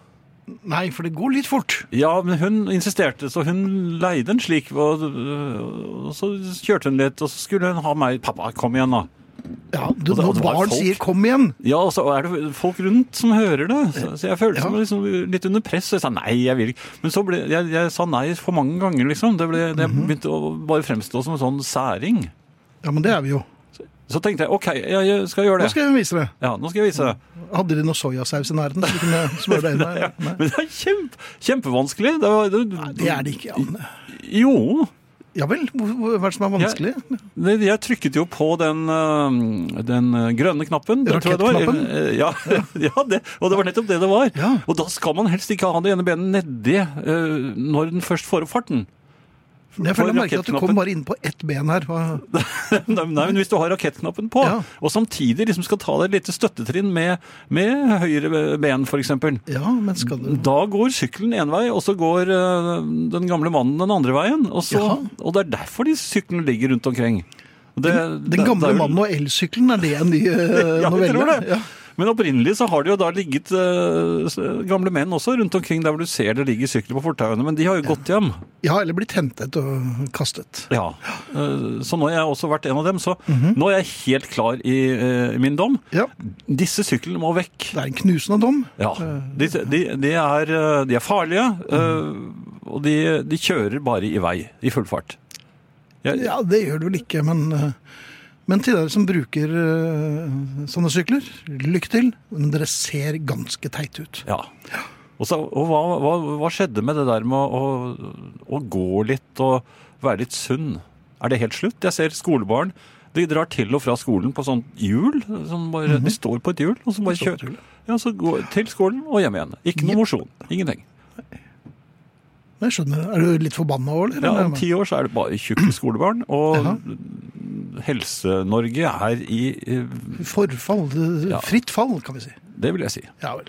Nei, for det går litt fort. Ja, men hun insisterte, så hun leide en slik. Og, og så kjørte hun litt, og så skulle hun ha meg. 'Pappa, kom igjen, da.' Ja, du, Og det- og Når det var barn folk. sier 'kom igjen', Ja, og så er det folk rundt som hører det. Så, så jeg følte Ja. meg liksom litt under press. Og jeg sa nei, jeg vil ikke. Men så ble, jeg, jeg sa nei for mange ganger, liksom. Det ble, det Mhm. begynte å bare fremstå som en sånn særing. ja, men det er vi jo. Så tenkte jeg OK, jeg, jeg skal gjøre Nå det. skal jeg vise deg. Ja, nå skal jeg vise det. Hadde de noe soyasaus i nærheten? Så du kunne smøre deg inn der? Nei. Men det er kjempe, kjempevanskelig. Det var, det, Det er det ikke. Anne. Jo. Ja vel? Hvor- hvor- Hva er det som er vanskelig? Det, jeg trykket jo på den, øh, den øh, grønne knappen. det tror jeg det var. Rakettknappen? Eh, Ja, ja det, og det var nettopp det det var. Ja. Og da skal man helst ikke ha det ene benet nedi øh, når den først får opp farten. Jeg føler jeg merker at du kom rakettknappen. bare inn på ett ben her. Hva- Nei, men hvis du har rakettknappen på, Ja. og samtidig liksom skal ta deg et lite støttetrinn med, med høyre ben, f.eks. Ja, men skal du Da går sykkelen en vei, og så går øh, den gamle mannen den andre veien. Og, så, Jaha. og det er derfor de syklene ligger rundt omkring. Og det- det- Den gamle det er jo- mannen og elsykkelen, er det en ny eh, Ja, jeg tror novelle? det. Men opprinnelig så har det jo da ligget eh, s- gamle menn også rundt omkring der hvor du ser det ligger sykler på fortauene, men de har jo gått hjem. Ja, eller blitt hentet og kastet. Ja. Eh, Så nå har jeg også vært en av dem, så nå er jeg helt klar i eh, min dom. Mhm. Ja, Disse syklene må vekk. Det er en knusende dom. Ja. De, de, de, er, eh, de er farlige, Mm. eh, og de, de kjører bare i vei i full fart. Jeg, Ja, Det gjør det vel ikke, men, eh, men til dere som bruker eh, sånne sykler, lykke til. Men dere ser ganske teite ut. Ja. Og, så, og hva, hva, hva skjedde med det der med å, å, å gå litt og være litt sunn? Er det helt slutt? Jeg ser skolebarn. De drar til og fra skolen på sånn hjul. Sånn bare, De står på et hjul, og så bare Mhm. står på et kjører. Ja, så går, til skolen og hjem igjen. Ikke noe mosjon. Ingenting. Men jeg skjønner, Er du litt forbanna òg, eller? Ja, Om ti år så er det bare tjukke skolebarn. Og Helse-Norge er i eh, Forfall. eh, Ja. Fritt fall, kan vi si. Det vil jeg si. Ja vel.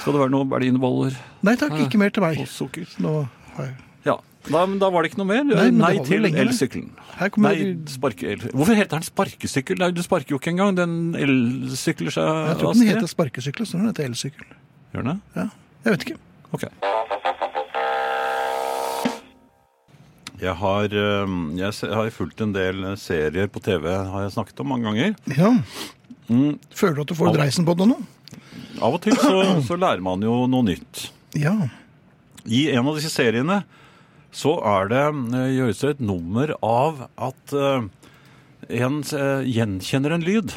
Skal det være noen berlinboller Nei takk, ikke mer til og meg. sukker? Nå har jeg Ja. Da, men da var det ikke noe mer. Nei, Nei, men det holder til lenge, det. elsykkelen. Her kommer- Nei, sparke, hvorfor heter den sparkesykkel? Nei, du sparker jo ikke engang. Den elsykler seg Jeg tror ikke den av sted. heter sparkesykkel, så den heter elsykkel. Gjør den det? Ja. Jeg vet ikke. Ok. Jeg har, øhm, jeg se- har fulgt en del eh, serier på TV, har jeg snakket om mange ganger. Ja. Mm. Føler du at du får dreisen på det nå? Av og til så, så lærer man jo noe nytt. Ja. I en av disse seriene så er det, eh, gjøres det et nummer av at eh, en eh, gjenkjenner en lyd.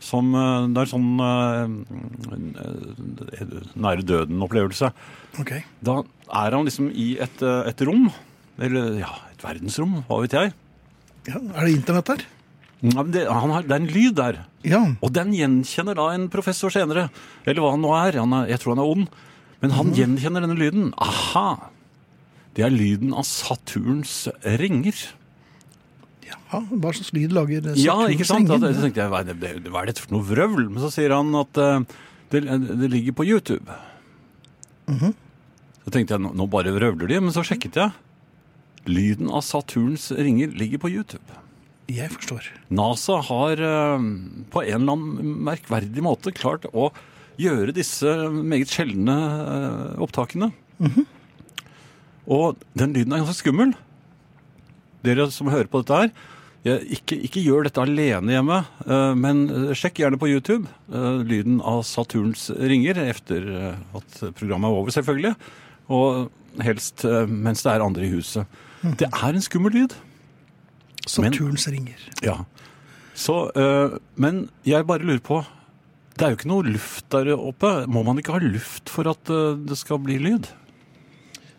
Som eh, Det er sånn eh, eh, nære døden-opplevelse. Ok. Da er han liksom i et, eh, et rom. Eller ja, et verdensrom, hva vet jeg. Ja. Er det internett her? Ja, men det, han har, det er en lyd der. Ja. Og den gjenkjenner da en professor senere. Eller hva han nå er. Han er jeg tror han er ond. Men han Mhm. gjenkjenner denne lyden. Aha! Det er lyden av Saturns ringer. ja. Hva slags lyd lager Saturns Ja, ikke sant? ringer? At, så tenkte jeg, hva er det, det- hva er dette for noe vrøvl? Men så sier han at eh, det, det ligger på YouTube. Mhm. Så tenkte jeg, nå nå bare vrøvler de, men så sjekket jeg. Lyden av Saturns ringer ligger på YouTube. Jeg forstår. NASA har eh, på en eller annen merkverdig måte klart å gjøre disse meget sjeldne eh, opptakene. Og den lyden er ganske skummel. Dere som hører på dette her, eh, ikke, ikke gjør dette alene hjemme, eh, men eh, sjekk gjerne på YouTube eh, lyden av Saturns ringer etter eh, at programmet er over, selvfølgelig. Og helst eh, mens det er andre i huset. Det er en skummel lyd. Saturns ringer. Ja. Så, øh, men jeg bare lurer på Det er jo eh, ikke noe luft der oppe. Må man ikke ha luft for at øh, det skal bli lyd?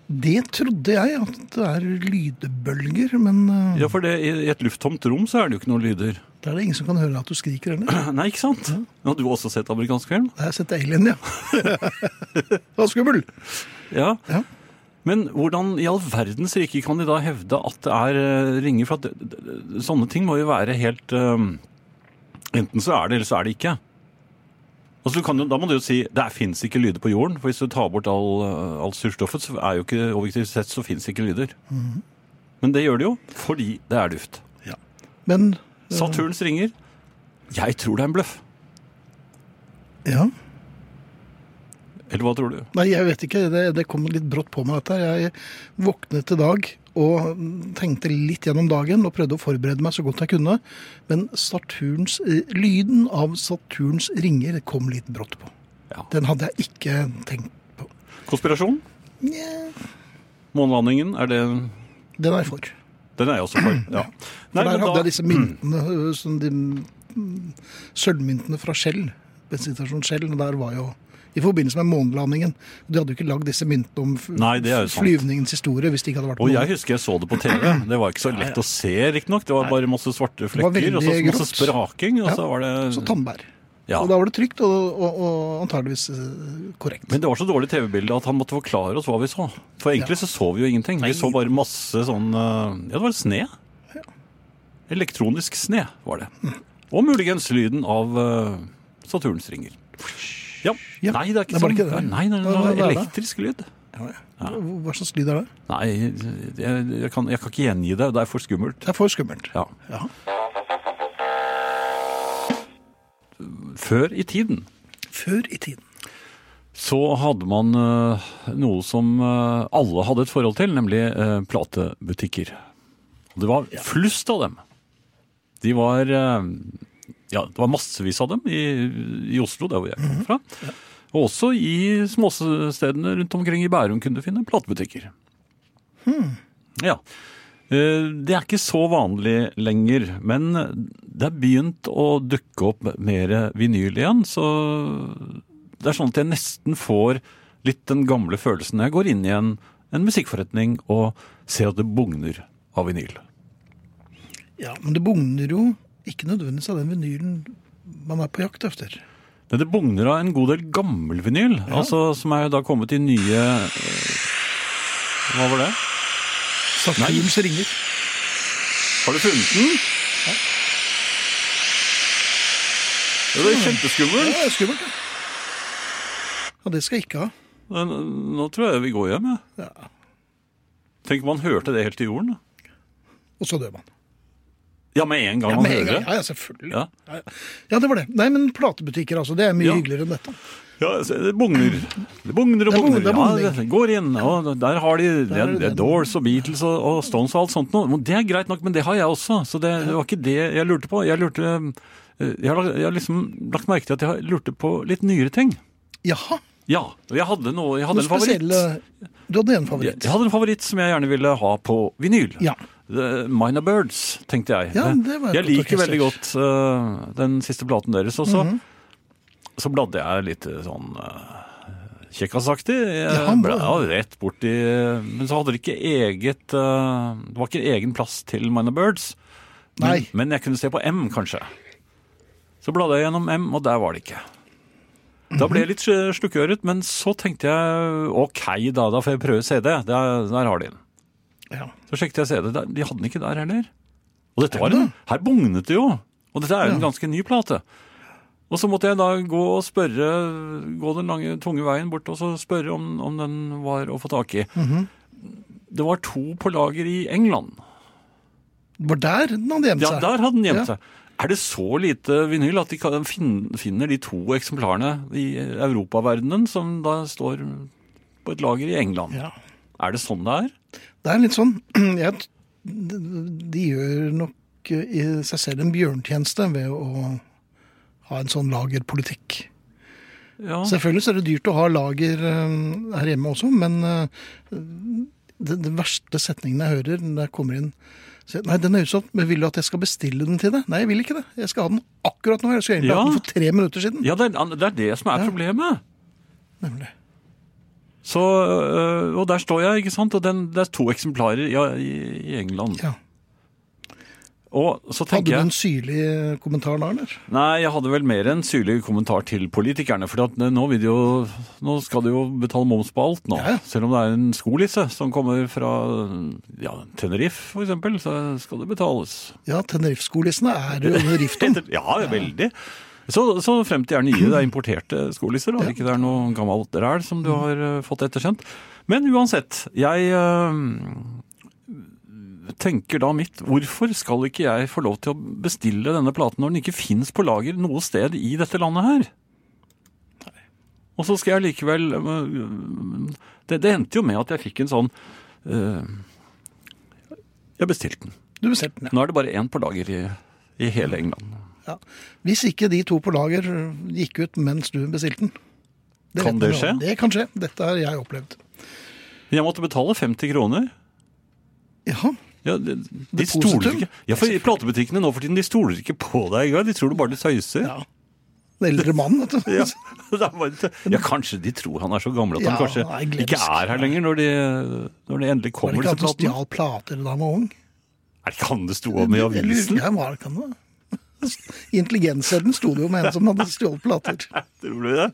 Det trodde jeg at det er lydbølger, men eh, Ja, for det, i i et lufttomt rom så er det jo ikke noen lyder. da er det ingen som kan høre at du skriker heller. Nei, ikke sant? Ja, du har også sett amerikansk film? Jeg har sett Alien, ja. det var skummel. Ja. Ja. Men hvordan i all verdens rike kan de da hevde at det er eh, ringer? For at det- det- det- sånne ting må jo være helt eh, Enten så er det, eller så er det ikke. Altså, du kan jo, da må du jo si det fins ikke lyder på jorden. For hvis du tar bort all, eh, alt surstoffet, så er jo ikke objektivt sett så fins ikke lyder. Mhm. Men det gjør det jo fordi det er luft. Men Saturns ringer. Jeg tror det er en bløff. ja. Eller hva tror du? Nei, jeg vet ikke. Det, det kom litt brått på meg, dette. her. Jeg våknet i dag og tenkte litt gjennom dagen og prøvde å forberede meg så godt jeg kunne. Men Saturns, eh, lyden av Saturns ringer kom litt brått på. Ja. Den hadde jeg ikke tenkt på. Konspirasjon? Nja, Månelandingen? Er det Den er jeg for. Den er jeg også for. Ja. Nei, For der men hadde da- jeg disse myntene, øh, som de mm, sølvmyntene fra Shell, bensinstasjonen Shell, og der var jo i forbindelse med månelandingen. De hadde jo ikke lagd disse myntene om f- Nei, det er jo sant. flyvningens historie hvis de ikke hadde vært på Og jeg månen. husker jeg så det på TV. Det var ikke så lett å se, riktignok. Det var bare masse svarte var flekker og så veldig masse grått. spraking. Og Ja, så var Så det tannbær. ja. Og da var det trygt og, og, og antageligvis øh, korrekt. Men det var så dårlig TV-bilde at han måtte forklare oss hva vi så. For egentlig så så vi jo ingenting. Vi så bare masse sånn eh, Ja, det var sne. Elektronisk sne var det. Og muligens lyden av eh, Saturns ringer. Ja. Ja, Nei, det er ikke det var sånn. ikke det. Nei, nei, nei, Hva- hva det var er det? elektrisk lyd. Hva hva slags lyd er det? Nei, jeg, jeg, kan, jeg kan ikke gjengi det. Det er for skummelt. Det er for skummelt. Ja. Ja. Før i tiden Før i tiden. så hadde man eh, noe som eh, alle hadde et forhold til, nemlig eh, platebutikker. Og det var flust av dem. De var eh, Ja, det var massevis av dem i, i Oslo, der hvor jeg kom fra. Og også i småstedene rundt omkring i Bærum kunne du finne platebutikker. Ja. Eh, Det er ikke så vanlig lenger, men det er begynt å dukke opp mer vinyl igjen. Så det er sånn at jeg nesten får litt den gamle følelsen når jeg går inn i en, en musikkforretning og ser at det bugner av vinyl. Ja, men det bugner jo ikke nødvendigvis av den vinylen man er på jakt efter. Men det bugner av en god del gammel vinyl, altså, som er jo da kommet i nye eh, Hva var det? Saturns ringer. Har du funnet den? Ja, det er kjempeskummel. Ja, det er skummelt, ja. Ja, det skal jeg ikke ha. Men, eh, Nå tror jeg vi går hjem, jeg. Ja. Tenk om man hørte det helt til jorden. da. Og så dør man. Ja, med en gang Ja, man med en hører gang. det. Ja, ja, selvfølgelig. Ja. Ja, det var det. Nei, men platebutikker, altså. Det er mye Ja. hyggeligere enn dette. Ja, se, det bugner. Det bugner Det og er bugner. bugn- det er ja, bugning. det går inn, og der har de det, er- er det det den. er Doors og Beatles og, og Stones og alt sånt noe. Men Det er greit nok, men det har jeg også, så det, det var ikke det jeg lurte på. Jeg lurte eh, jeg har, jeg har liksom lagt merke til at jeg lurte på litt nyere ting. Jaha. Ja, og jeg hadde, noe, jeg hadde Noen en favoritt. spesielle Du hadde en favoritt. Jeg hadde en favoritt som jeg gjerne ville ha på vinyl. Ja. The Minor Birds, tenkte jeg. Eh, Ja, det var et jeg godt liker orkester. Mhm. veldig godt øh, den siste platen deres også. Så bladde jeg litt øh, sånn uh, kjekkasaktig. Jeg Ja, han ble var- ja, rett borti eh, Men så hadde det ikke eget øh, Det var ikke egen plass til Minor Birds. Men, Nei. men jeg kunne se på M, kanskje. Så bladde jeg gjennom M, og der var det ikke. Da ble jeg litt slukkøret, men så tenkte jeg OK, da, da får jeg prøve CD. Der, der har de den. Ja. Så sjekket jeg CD. Der, de hadde den ikke der heller. Og dette var en, her bugnet det jo! Og dette er jo en ganske ny plate. Og så måtte jeg da gå og spørre, gå den lange, tunge veien bort og så spørre om, om den var å få tak i. Det var to på lager i England. Det var der den hadde gjemt Ja, seg. der hadde den gjemt Ja. seg. Er det så lite vinyl at de kan fin- finner de to eksemplarene i eh, europaverdenen som da står på et lager i England? Ja. Er det sånn det er? Det er litt sånn jeg, t- De gjør nok eh, i seg selv en bjørntjeneste ved å ha en sånn lagerpolitikk. Ja. Selvfølgelig så er det dyrt å ha lager eh, her hjemme også, men eh, det, det verste setningen jeg hører når jeg kommer inn sier, Nei, den er utsolgt, men vil du at jeg skal bestille den til deg? Nei, jeg vil ikke det. Jeg skal ha den akkurat nå. Jeg skulle egentlig Ja. ha den for tre minutter siden. ja, det er det, er det som er problemet. Nemlig. Så, øh, og der står jeg, ikke sant? Og den, det er to eksemplarer ja, i, i England. Ja. Og så Hadde tenker du jeg en syrlig kommentar da, eller? Nei, jeg hadde vel mer en syrlig kommentar til politikerne. For at eh, nå, vil de jo, nå skal de jo betale moms på alt nå. Ja, ja. Selv om det er en skolisse som kommer fra ja, Tenerife, for eksempel, så skal det betales. Ja, Tenerife-skolissene er jo under rift om. Etter- Ja, veldig. Så, så frem til gjerne nye, det er importerte skolisser, og ikke det er noe gammelt ræl som du har eh, fått ettersendt. Men uansett, jeg eh, tenker da mitt, hvorfor skal ikke jeg få lov til å bestille denne platen når den ikke finnes på lager noe sted i dette landet her? Og så skal jeg likevel eh, det, det endte jo med at jeg fikk en sånn eh, Jeg bestilte den. Du bestilte den, ja. Nå er det bare én på lager i, i hele England. ja. Hvis ikke de to på lager eh, gikk ut mens du bestilte den. vet Kan det man jo. skje? Det kan skje. Dette har jeg opplevd. Jeg måtte betale 50 kroner. Ja, Ja, de de Depositum? stoler ikke Ja, for i platebutikkene nå for tiden, de stoler ikke på deg engang. De tror du bare du tøyser. ja. Den eldre mannen, vet du. Ja. det er bare- ja, kanskje de tror han er så gammel at han Ja, kanskje nei, glemsk. ikke er her lenger når de, når de endelig Var det kommer, ikke at disse han platene. stjal plater da han var ung? Er det ikke han det sto om i avisen? Ja, var det ikke han det? Intelligenssedelen sto det jo med en som hadde stjålet plater. Tror du det?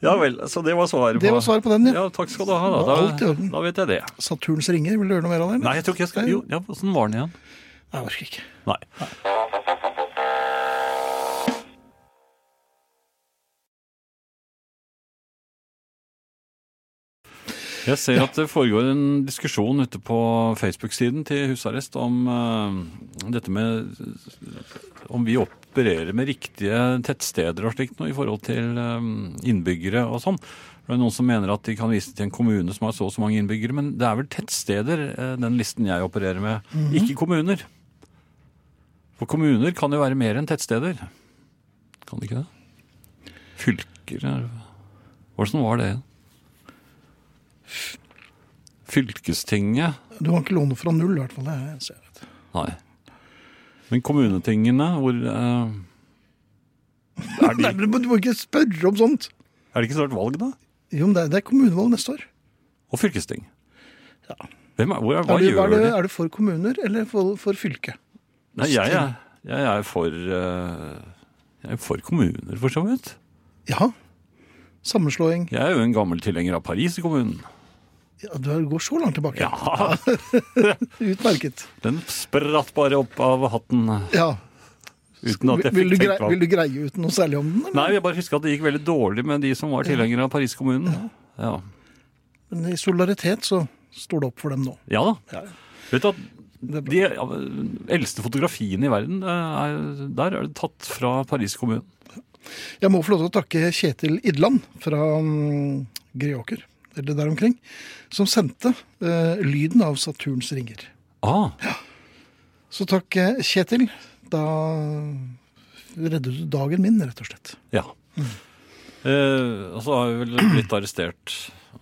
Ja vel, så det var svaret på Det var svaret på den, ja. Ja, takk skal du ha, Det var da. alt i Da, orden. da vet jeg det. Saturns ringer, vil du høre noe mer av det? eller? Nei, jeg tror ikke jeg skal Jo, ja, åssen var den igjen? Nei, Jeg orker ikke. Nei. Jeg ser at det foregår en diskusjon ute på Facebook-siden til husarrest om eh, dette med Om vi opererer med riktige tettsteder og slikt nå i forhold til eh, innbyggere og sånn. Det er noen som mener at de kan vise til en kommune som har så og så mange innbyggere, men det er vel tettsteder, eh, den listen jeg opererer med, ikke kommuner. For kommuner kan jo være mer enn tettsteder. Kan de ikke det? Fylker er Hvordan var det? Fylkestinget? Du kan ikke låne fra null, i hvert fall. Det ser jeg. vet du. Nei. Men kommunetingene, hvor eh, er, de, Nei, men Du må ikke spørre om sånt! er det ikke snart valg, da? Jo, men det er, det er kommunevalg neste år. Og fylkesting? Ja. Hvem er, hvor er, hva Er du, er, gjør du, de? er du for kommuner eller for, for fylke? Nei, jeg, er- jeg er for eh, Jeg er for kommuner, for så vidt. Ja. Sammenslåing. Jeg er jo en gammel tilhenger av Paris i kommunen. Ja, du går så langt tilbake. Ja, Utmerket. Den spratt bare opp av hatten Ja. uten at jeg Vil fikk du, grei, tenkt meg vil om. du greie ut noe særlig om den? eller? Nei, jeg bare husker at det gikk veldig dårlig med de som var tilhengere av Paris-kommunen. Ja. Men i solidaritet så står det opp for dem nå. ja da. Ja. Vet du at Det er bra. de ja, eldste fotografiene i verden, eh, er, der er det tatt fra Paris-kommunen. Jeg må få lov til å takke Kjetil Idland fra mm, Greåker, eller der omkring, som sendte eh, lyden av Saturns ringer. Ah, Så takk, eh, Kjetil. Da reddet du dagen min, rett og slett. ja. Mm. Eh, og så har vi vel blitt arrestert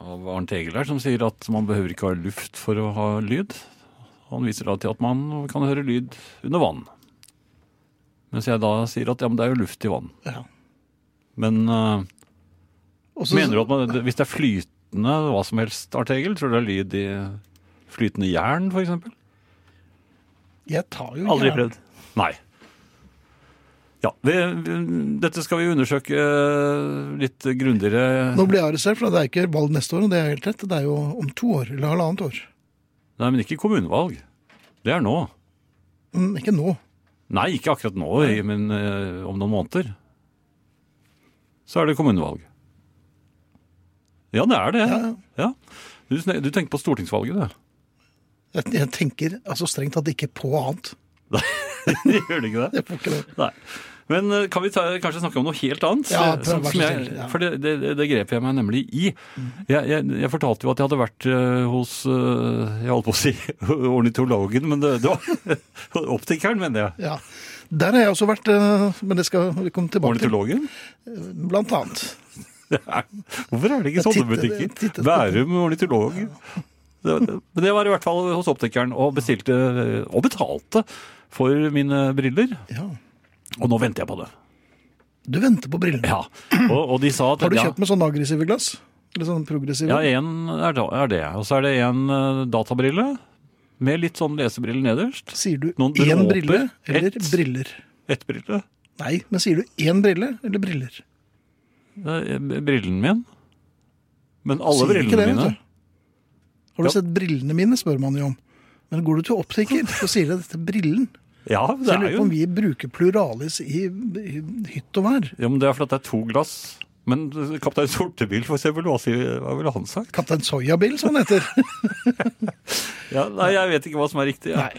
av Arnt Egil her, som sier at man behøver ikke ha luft for å ha lyd. Han viser da til at man kan høre lyd under vann. Mens jeg da sier at ja, men det er jo luft i vann. Ja. Men eh, Og så- Mener du at man, hvis det er flytende hva som helst artegel, tror du det er lyd i flytende jern, for eksempel? Jeg tar jo Aldri gjerne- prøvd. Nei. Ja, vi, vi, dette skal vi undersøke eh, litt grundigere. Nå blir jeg arrestert, for det er ikke valg neste år, og det er helt rett. Det er jo om to år, eller halvannet år. Nei, men ikke kommunevalg. Det er nå. Mm, ikke nå. Nei, ikke akkurat nå, i- men eh, om noen måneder. Så er det kommunevalg. Ja, det er det. Ja, Ja. Du, sn- du tenker på stortingsvalget, du. Jeg, jeg tenker altså strengt tatt ikke på annet. Gjør du ikke det? Jeg får ikke det. Nei. Men eh, kan vi ta, kanskje snakke om noe helt annet? Ja, Eh, prøv, som, vær så som jeg, snill, ja. Mhm. for det, det, det grep jeg meg nemlig i. Jeg, jeg, jeg fortalte jo at jeg hadde vært eh, hos eh, Jeg holdt på å si ornitologen, men det, det var optikeren, mener jeg. Ja. Der har jeg også vært, eh, men det skal vi komme tilbake til. Ornitologen? Blant annet. Det er- Hvorfor er det ikke Jeg sånne tittet- jeg butikker? tittet på Bærum ornitolog. Det, det, men jeg var i hvert fall hos optikeren og bestilte eh, og betalte for mine briller. Ja. Og nå venter jeg på det. Du venter på brillene. Ja. Og, og de sa at Har du ja, kjøpt med sånne aggressive glass? Litt sånn progressiv. Ja, én er, da- er det. Og så er det en eh, databrille med litt sånn lesebrille nederst. sier du Noen én dråper? brille eller Ett? briller? Ett brille. Nei, men sier du én brille eller briller? Det er Eh, brillen min. Men alle Sier ikke brillene det, vet mine. du. Har du Ja. sett brillene mine, spør man jo om. Men går du til optiker, så sier de dette er brillen. Ja, Så det jeg er lurer jo på om vi bruker pluralis i, i hytt og vær. ja, men Det er fordi det er to glass. Men eh, kaptein Sortebil, for eksempel, hva, sier, hva ville han sagt? Kaptein Soyabil, som han heter. Ja, nei, jeg vet ikke hva som er riktig. Ja,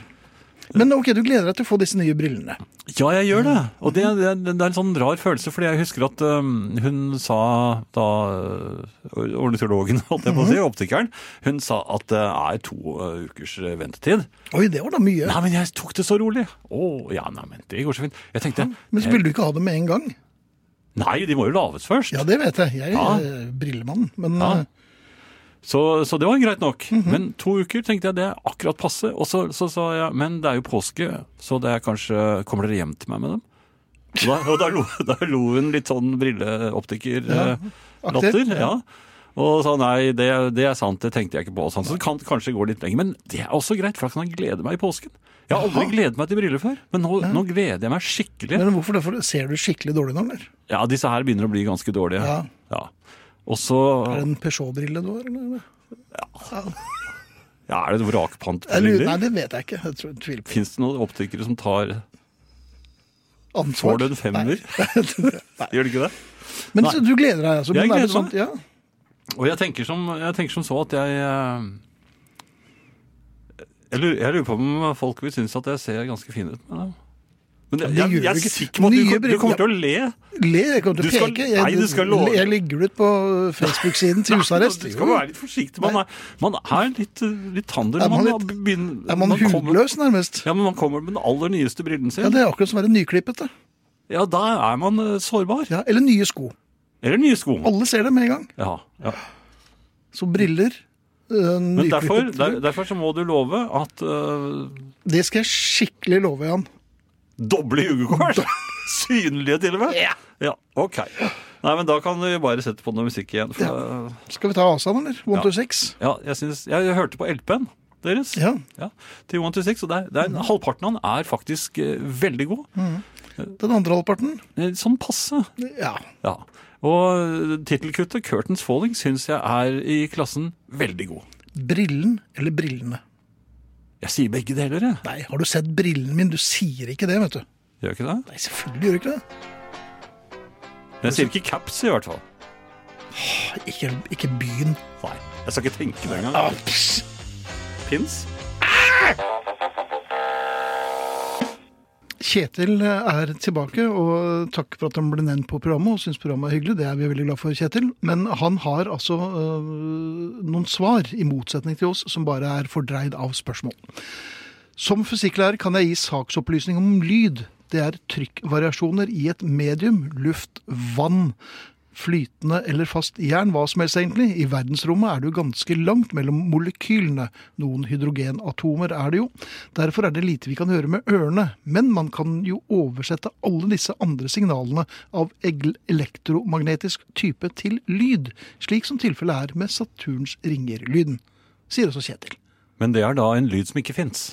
Men ok, du gleder deg til å få disse nye brillene. ja jeg gjør det. Og det, det, det er en sånn rar følelse, fordi jeg husker at øhm, hun sa da øh, Ornitologen, holdt jeg på å si, optikeren, hun sa at det er to øh, ukers øh, ventetid. Oi, det var da mye. Nei, men jeg tok det så rolig. Å, ja, nei, men det går så fint. Jeg tenkte Men så ville du ikke ha det med en gang. Nei, de må jo lages først. Ja, det vet jeg. Jeg er Ja. eh, brillemann. Men Ja. eh, Så, så det var greit nok. Men to uker tenkte jeg det er akkurat passe. Og så så sa jeg men det er jo påske, så det er kanskje Kommer dere hjem til meg med dem? Og da, og da, lo, da lo hun litt sånn brilleoptiker-latter. aktivt, Ja, Og sa nei, det, det er sant, det tenkte jeg ikke på. og Sånn. Så det kan kanskje gå litt lenger. Men det er også greit, for da kan jeg glede meg i påsken. Jeg har aldri gledet meg til briller før, men nå, nå gleder jeg meg skikkelig. men hvorfor det? For Ser du skikkelig dårlig nå, eller? Ja, disse her begynner å bli ganske dårlige. Ja. Ja. Og så Er det en Peugeot-brille du har? Eller? ja, er det vrakpant på Jeg lurer, nei, briller. det vet jeg ikke. Jeg tror, jeg tviler på Fins det noen optikere som tar ansvar. Får du en femmer? Gjør du ikke det? Men Nei. så, du gleder deg, altså? men er Jeg det gleder meg. sånn- Ja. Og jeg tenker som, jeg tenker som så at jeg eh, jeg lurer, jeg lurer på om folk vil synes at jeg ser ganske fin ut med dem. Men jeg, det jeg, gjør jeg du er ikke. sikker på at du, Nye kom- du briller, kommer til å le. Le, jeg kommer til Du å skal- peke. nei, du skal love. Jeg ligger ut på Facebook-siden til husarrest. Du skal være litt forsiktig. Man er, man er litt, eh, litt tander. Er man har litt- begynn- Er man kommer, hudløs, nærmest? ja, men man kommer med den aller nyeste brillen Ja, sin. det er akkurat som å være nyklippet. Da. Ja, da er man eh, sårbar. Ja, eller nye sko. Eller nye sko. Alle ser det med en gang. Ja, ja. Så briller, øh, Men derfor, nyklippet der, derfor så må du love at eh, Det skal jeg skikkelig love, Jan. Doble jugekors! Synlige til og med? Ja. ok. Nei, men da kan vi bare sette på noe musikk igjen. For, eh, Skal vi ta avstanden, eller? One Ja. to six? ja, jeg, synes, jeg hørte på LP-en deres. Ja. Til 126, og det er, det er, halvparten av den er faktisk eh, veldig god. Den andre halvparten? Eh, Sånn passe. Ja. Ja. Og øh, tittelkuttet, 'Curtains Falling', syns jeg er i klassen veldig god. Brillen eller brillene? Jeg sier begge deler, jeg. Nei, har du sett brillen min? Du sier ikke det, vet du. Gjør jeg ikke det? Nei, selvfølgelig gjør du ikke det. Men jeg sier ikke caps, i hvert fall. Ikke, ikke byen. Nei. Jeg skal ikke tenke det engang. Ah, pss. Pins? Kjetil eh, er tilbake, og takk for at han ble nevnt på programmet og syns programmet er hyggelig. Det er vi veldig glad for, Kjetil. Men han har altså øh, noen svar, i motsetning til oss, som bare er fordreid av spørsmål. Som fysikklærer kan jeg gi saksopplysning om lyd. Det er trykkvariasjoner i et medium, luft, vann, flytende eller fast jern, hva som helst egentlig. I verdensrommet er det jo ganske langt mellom molekylene. Noen hydrogenatomer er det jo. Derfor er det lite vi kan gjøre med ørene. Men man kan jo oversette alle disse andre signalene av egl- elektromagnetisk type til lyd, slik som tilfellet er med Saturns ringer-lyden, sier også Kjetil. Men det er da en lyd som ikke fins.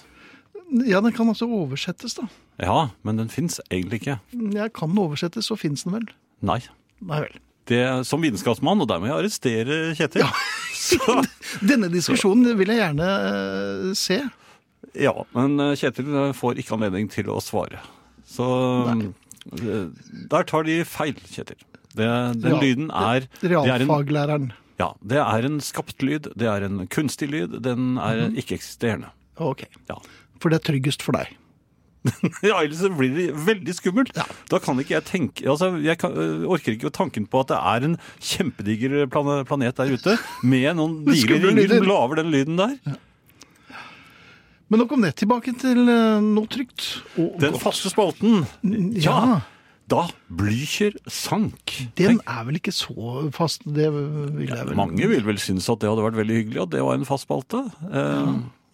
Ja, den kan altså oversettes, da. Ja, men den fins egentlig ikke. Jeg kan den oversettes, så fins den vel. Nei. Nei vel. Det, som vitenskapsmann, og der må jeg arrestere Kjetil. Så, Denne diskusjonen vil jeg gjerne eh, se. ja, men eh, Kjetil eh, får ikke anledning til å svare. Så eh, der tar de feil, Kjetil. Det, den Real- lyden er det er, en, Realfaglæreren. ja, det er en skapt lyd, det er en kunstig lyd, den er ikke-eksisterende. Ok. Ja. For det er tryggest for deg. ja, ellers så blir det veldig skummelt. Da kan ikke jeg tenke altså, Jeg kan, øh, orker ikke tanken på at det er en kjempediger eh, plane, planet der ute med noen Med digre skumle ringer lyder. som lager den lyden der. Men nok om det. Tilbake til eh, noe trygt og Den godt. faste spalten. Ja. Da Blücher sank. Den Tenk, er vel ikke så fast, det vil jeg vel. mange vil vel synes at det hadde vært veldig hyggelig at det var en fast spalte. Eh,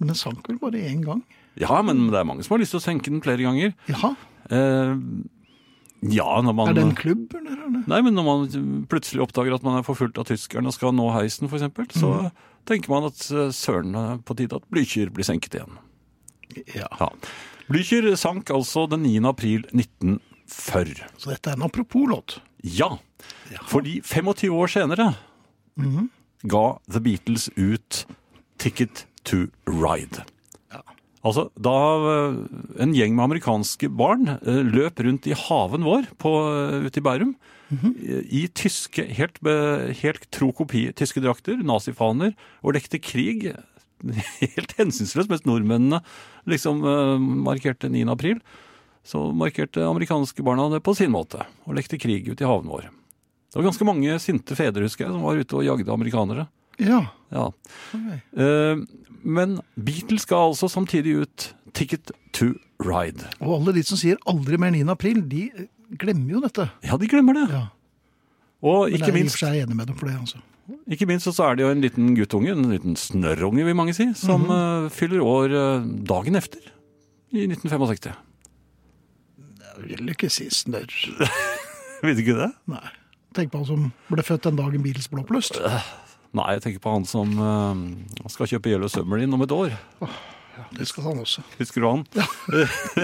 Men den sank vel bare én gang? ja, men det er mange som har lyst til å senke den flere ganger. Ja. Eh, Ja, når man Er det en klubb, eller? er det- Nei, men når man plutselig oppdager at man er forfulgt av tyskerne og skal nå heisen, f.eks., så tenker man at eh, søren det er på tide at Blücher blir senket igjen. Ja. Blücher sank altså den 9. april 1940. Så dette er en apropos-låt. Ja, fordi 25 år senere ga The Beatles ut Ticket to Ride. Altså, da eh, en gjeng med amerikanske barn eh, løp rundt i haven vår på, eh, ute i Bærum, eh, i, i tyske, helt, be- helt tro kopi tyske drakter, nazifaner, og lekte krig. Helt hensynsløst, mens nordmennene liksom eh, markerte 9. april så markerte amerikanske barna det på sin måte, og lekte krig ute i haven vår. Det var ganske mange sinte fedre, husker jeg, som var ute og jagde amerikanere. Ja. Ja. Eh, Men Beatles ga altså samtidig ut Ticket to Ride. Og alle de som sier 'aldri mer 9. april', de eh, glemmer jo dette. Ja, de glemmer det. Ja. Og Men ikke jeg er i og minst, for seg enig med dem for det. altså. ikke minst så er det jo en liten guttunge, en liten snørrunge vil mange si, som Mhm. eh, fyller år eh, dagen efter, i 1965. Jeg vil ikke si snørr. Vet du ikke det? Nei. Tenk på han som ble født den dagen Beatles ble oppløst. Nei, jeg tenker på han som eh, skal kjøpe Yellow Submarine om et år. Det skal han også. Husker du han?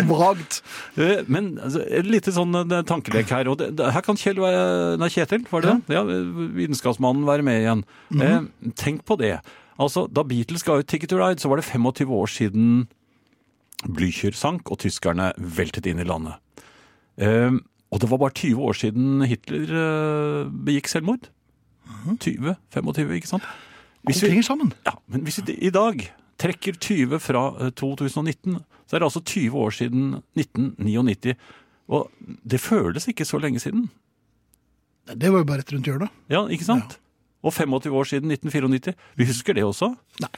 Vagt. Eh, Men altså, et lite sånn eh, tankelek her. Og det, det, her kan Kjell være, nei, Kjetil var det? Ja. eh, vitenskapsmannen være med igjen. eh, tenk på det. Altså, Da Beatles ga ut 'Ticket to Ride', så var det 25 år siden Blücher sank og tyskerne veltet inn i landet. Eh, og det var bare 20 år siden Hitler eh, begikk selvmord. 20-25, ikke sant? Alt henger sammen. Ja, men hvis vi i dag trekker 20 fra eh, 2019, så er det altså 20 år siden 1999. Og det føles ikke så lenge siden. Det var jo bare rett rundt hjørnet. Ja, ikke sant? Og 25 år siden 1994. Vi husker det også. Nei.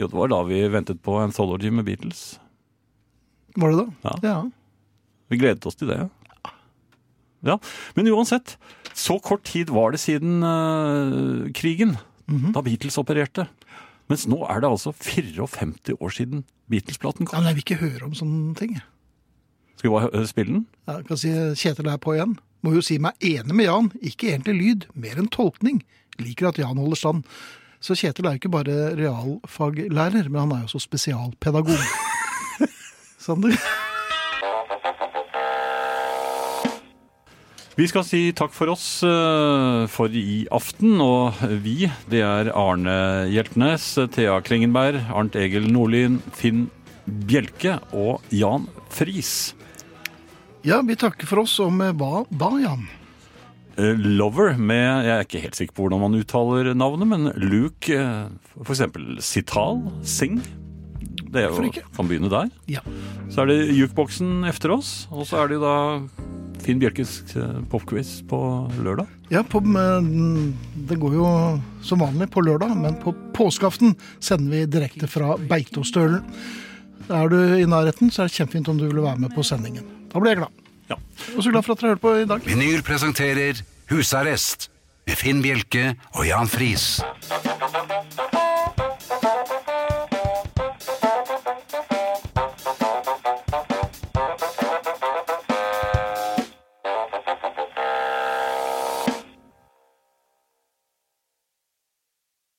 Jo, det var da vi ventet på Anthology med Beatles. Var det da? Ja. ja. Vi gledet oss til det. Ja, Men uansett, så kort tid var det siden eh, krigen, da Beatles opererte. Mens nå er det altså 54 år siden Beatles-platen Ja, kom. men jeg vil ikke høre om sånne ting. jeg. Skal vi bare eh, spille den? Jeg kan si Kjetil er på igjen. Må jo si meg enig med Jan. Ikke egentlig lyd, mer enn tolkning. Liker at Jan holder stand. Så Kjetil er jo ikke bare realfaglærer, men han er jo også spesialpedagog. Sander? Vi skal si takk for oss eh, for i aften, og vi, det er Arne Hjeltnes, Thea Klingenberg, Arnt Egil Nordlien, Finn Bjelke og Jan Friis. Ja, vi takker for oss om eh, hva, hva Jan? Eh, Lover med, jeg er ikke helt sikker på hvordan man uttaler navnet, men Luke, eh, for eksempel Sital, Sing. Det er Hvorfor jo, ikke? kan begynne der. Ja. Så er det jukeboksen efter oss, og så er det jo da Finn Bjelkes eh, popquiz på lørdag. Ja, på, men det går jo som vanlig på lørdag, men på påskeaften sender vi direkte fra Beitostølen. Er du i nærheten, så er det kjempefint om du vil være med på sendingen. Da blir jeg glad. Ja. Og så glad for at dere hørte på i dag. Vinyl presenterer Husarrest med Finn Bjelke og Jan Friis.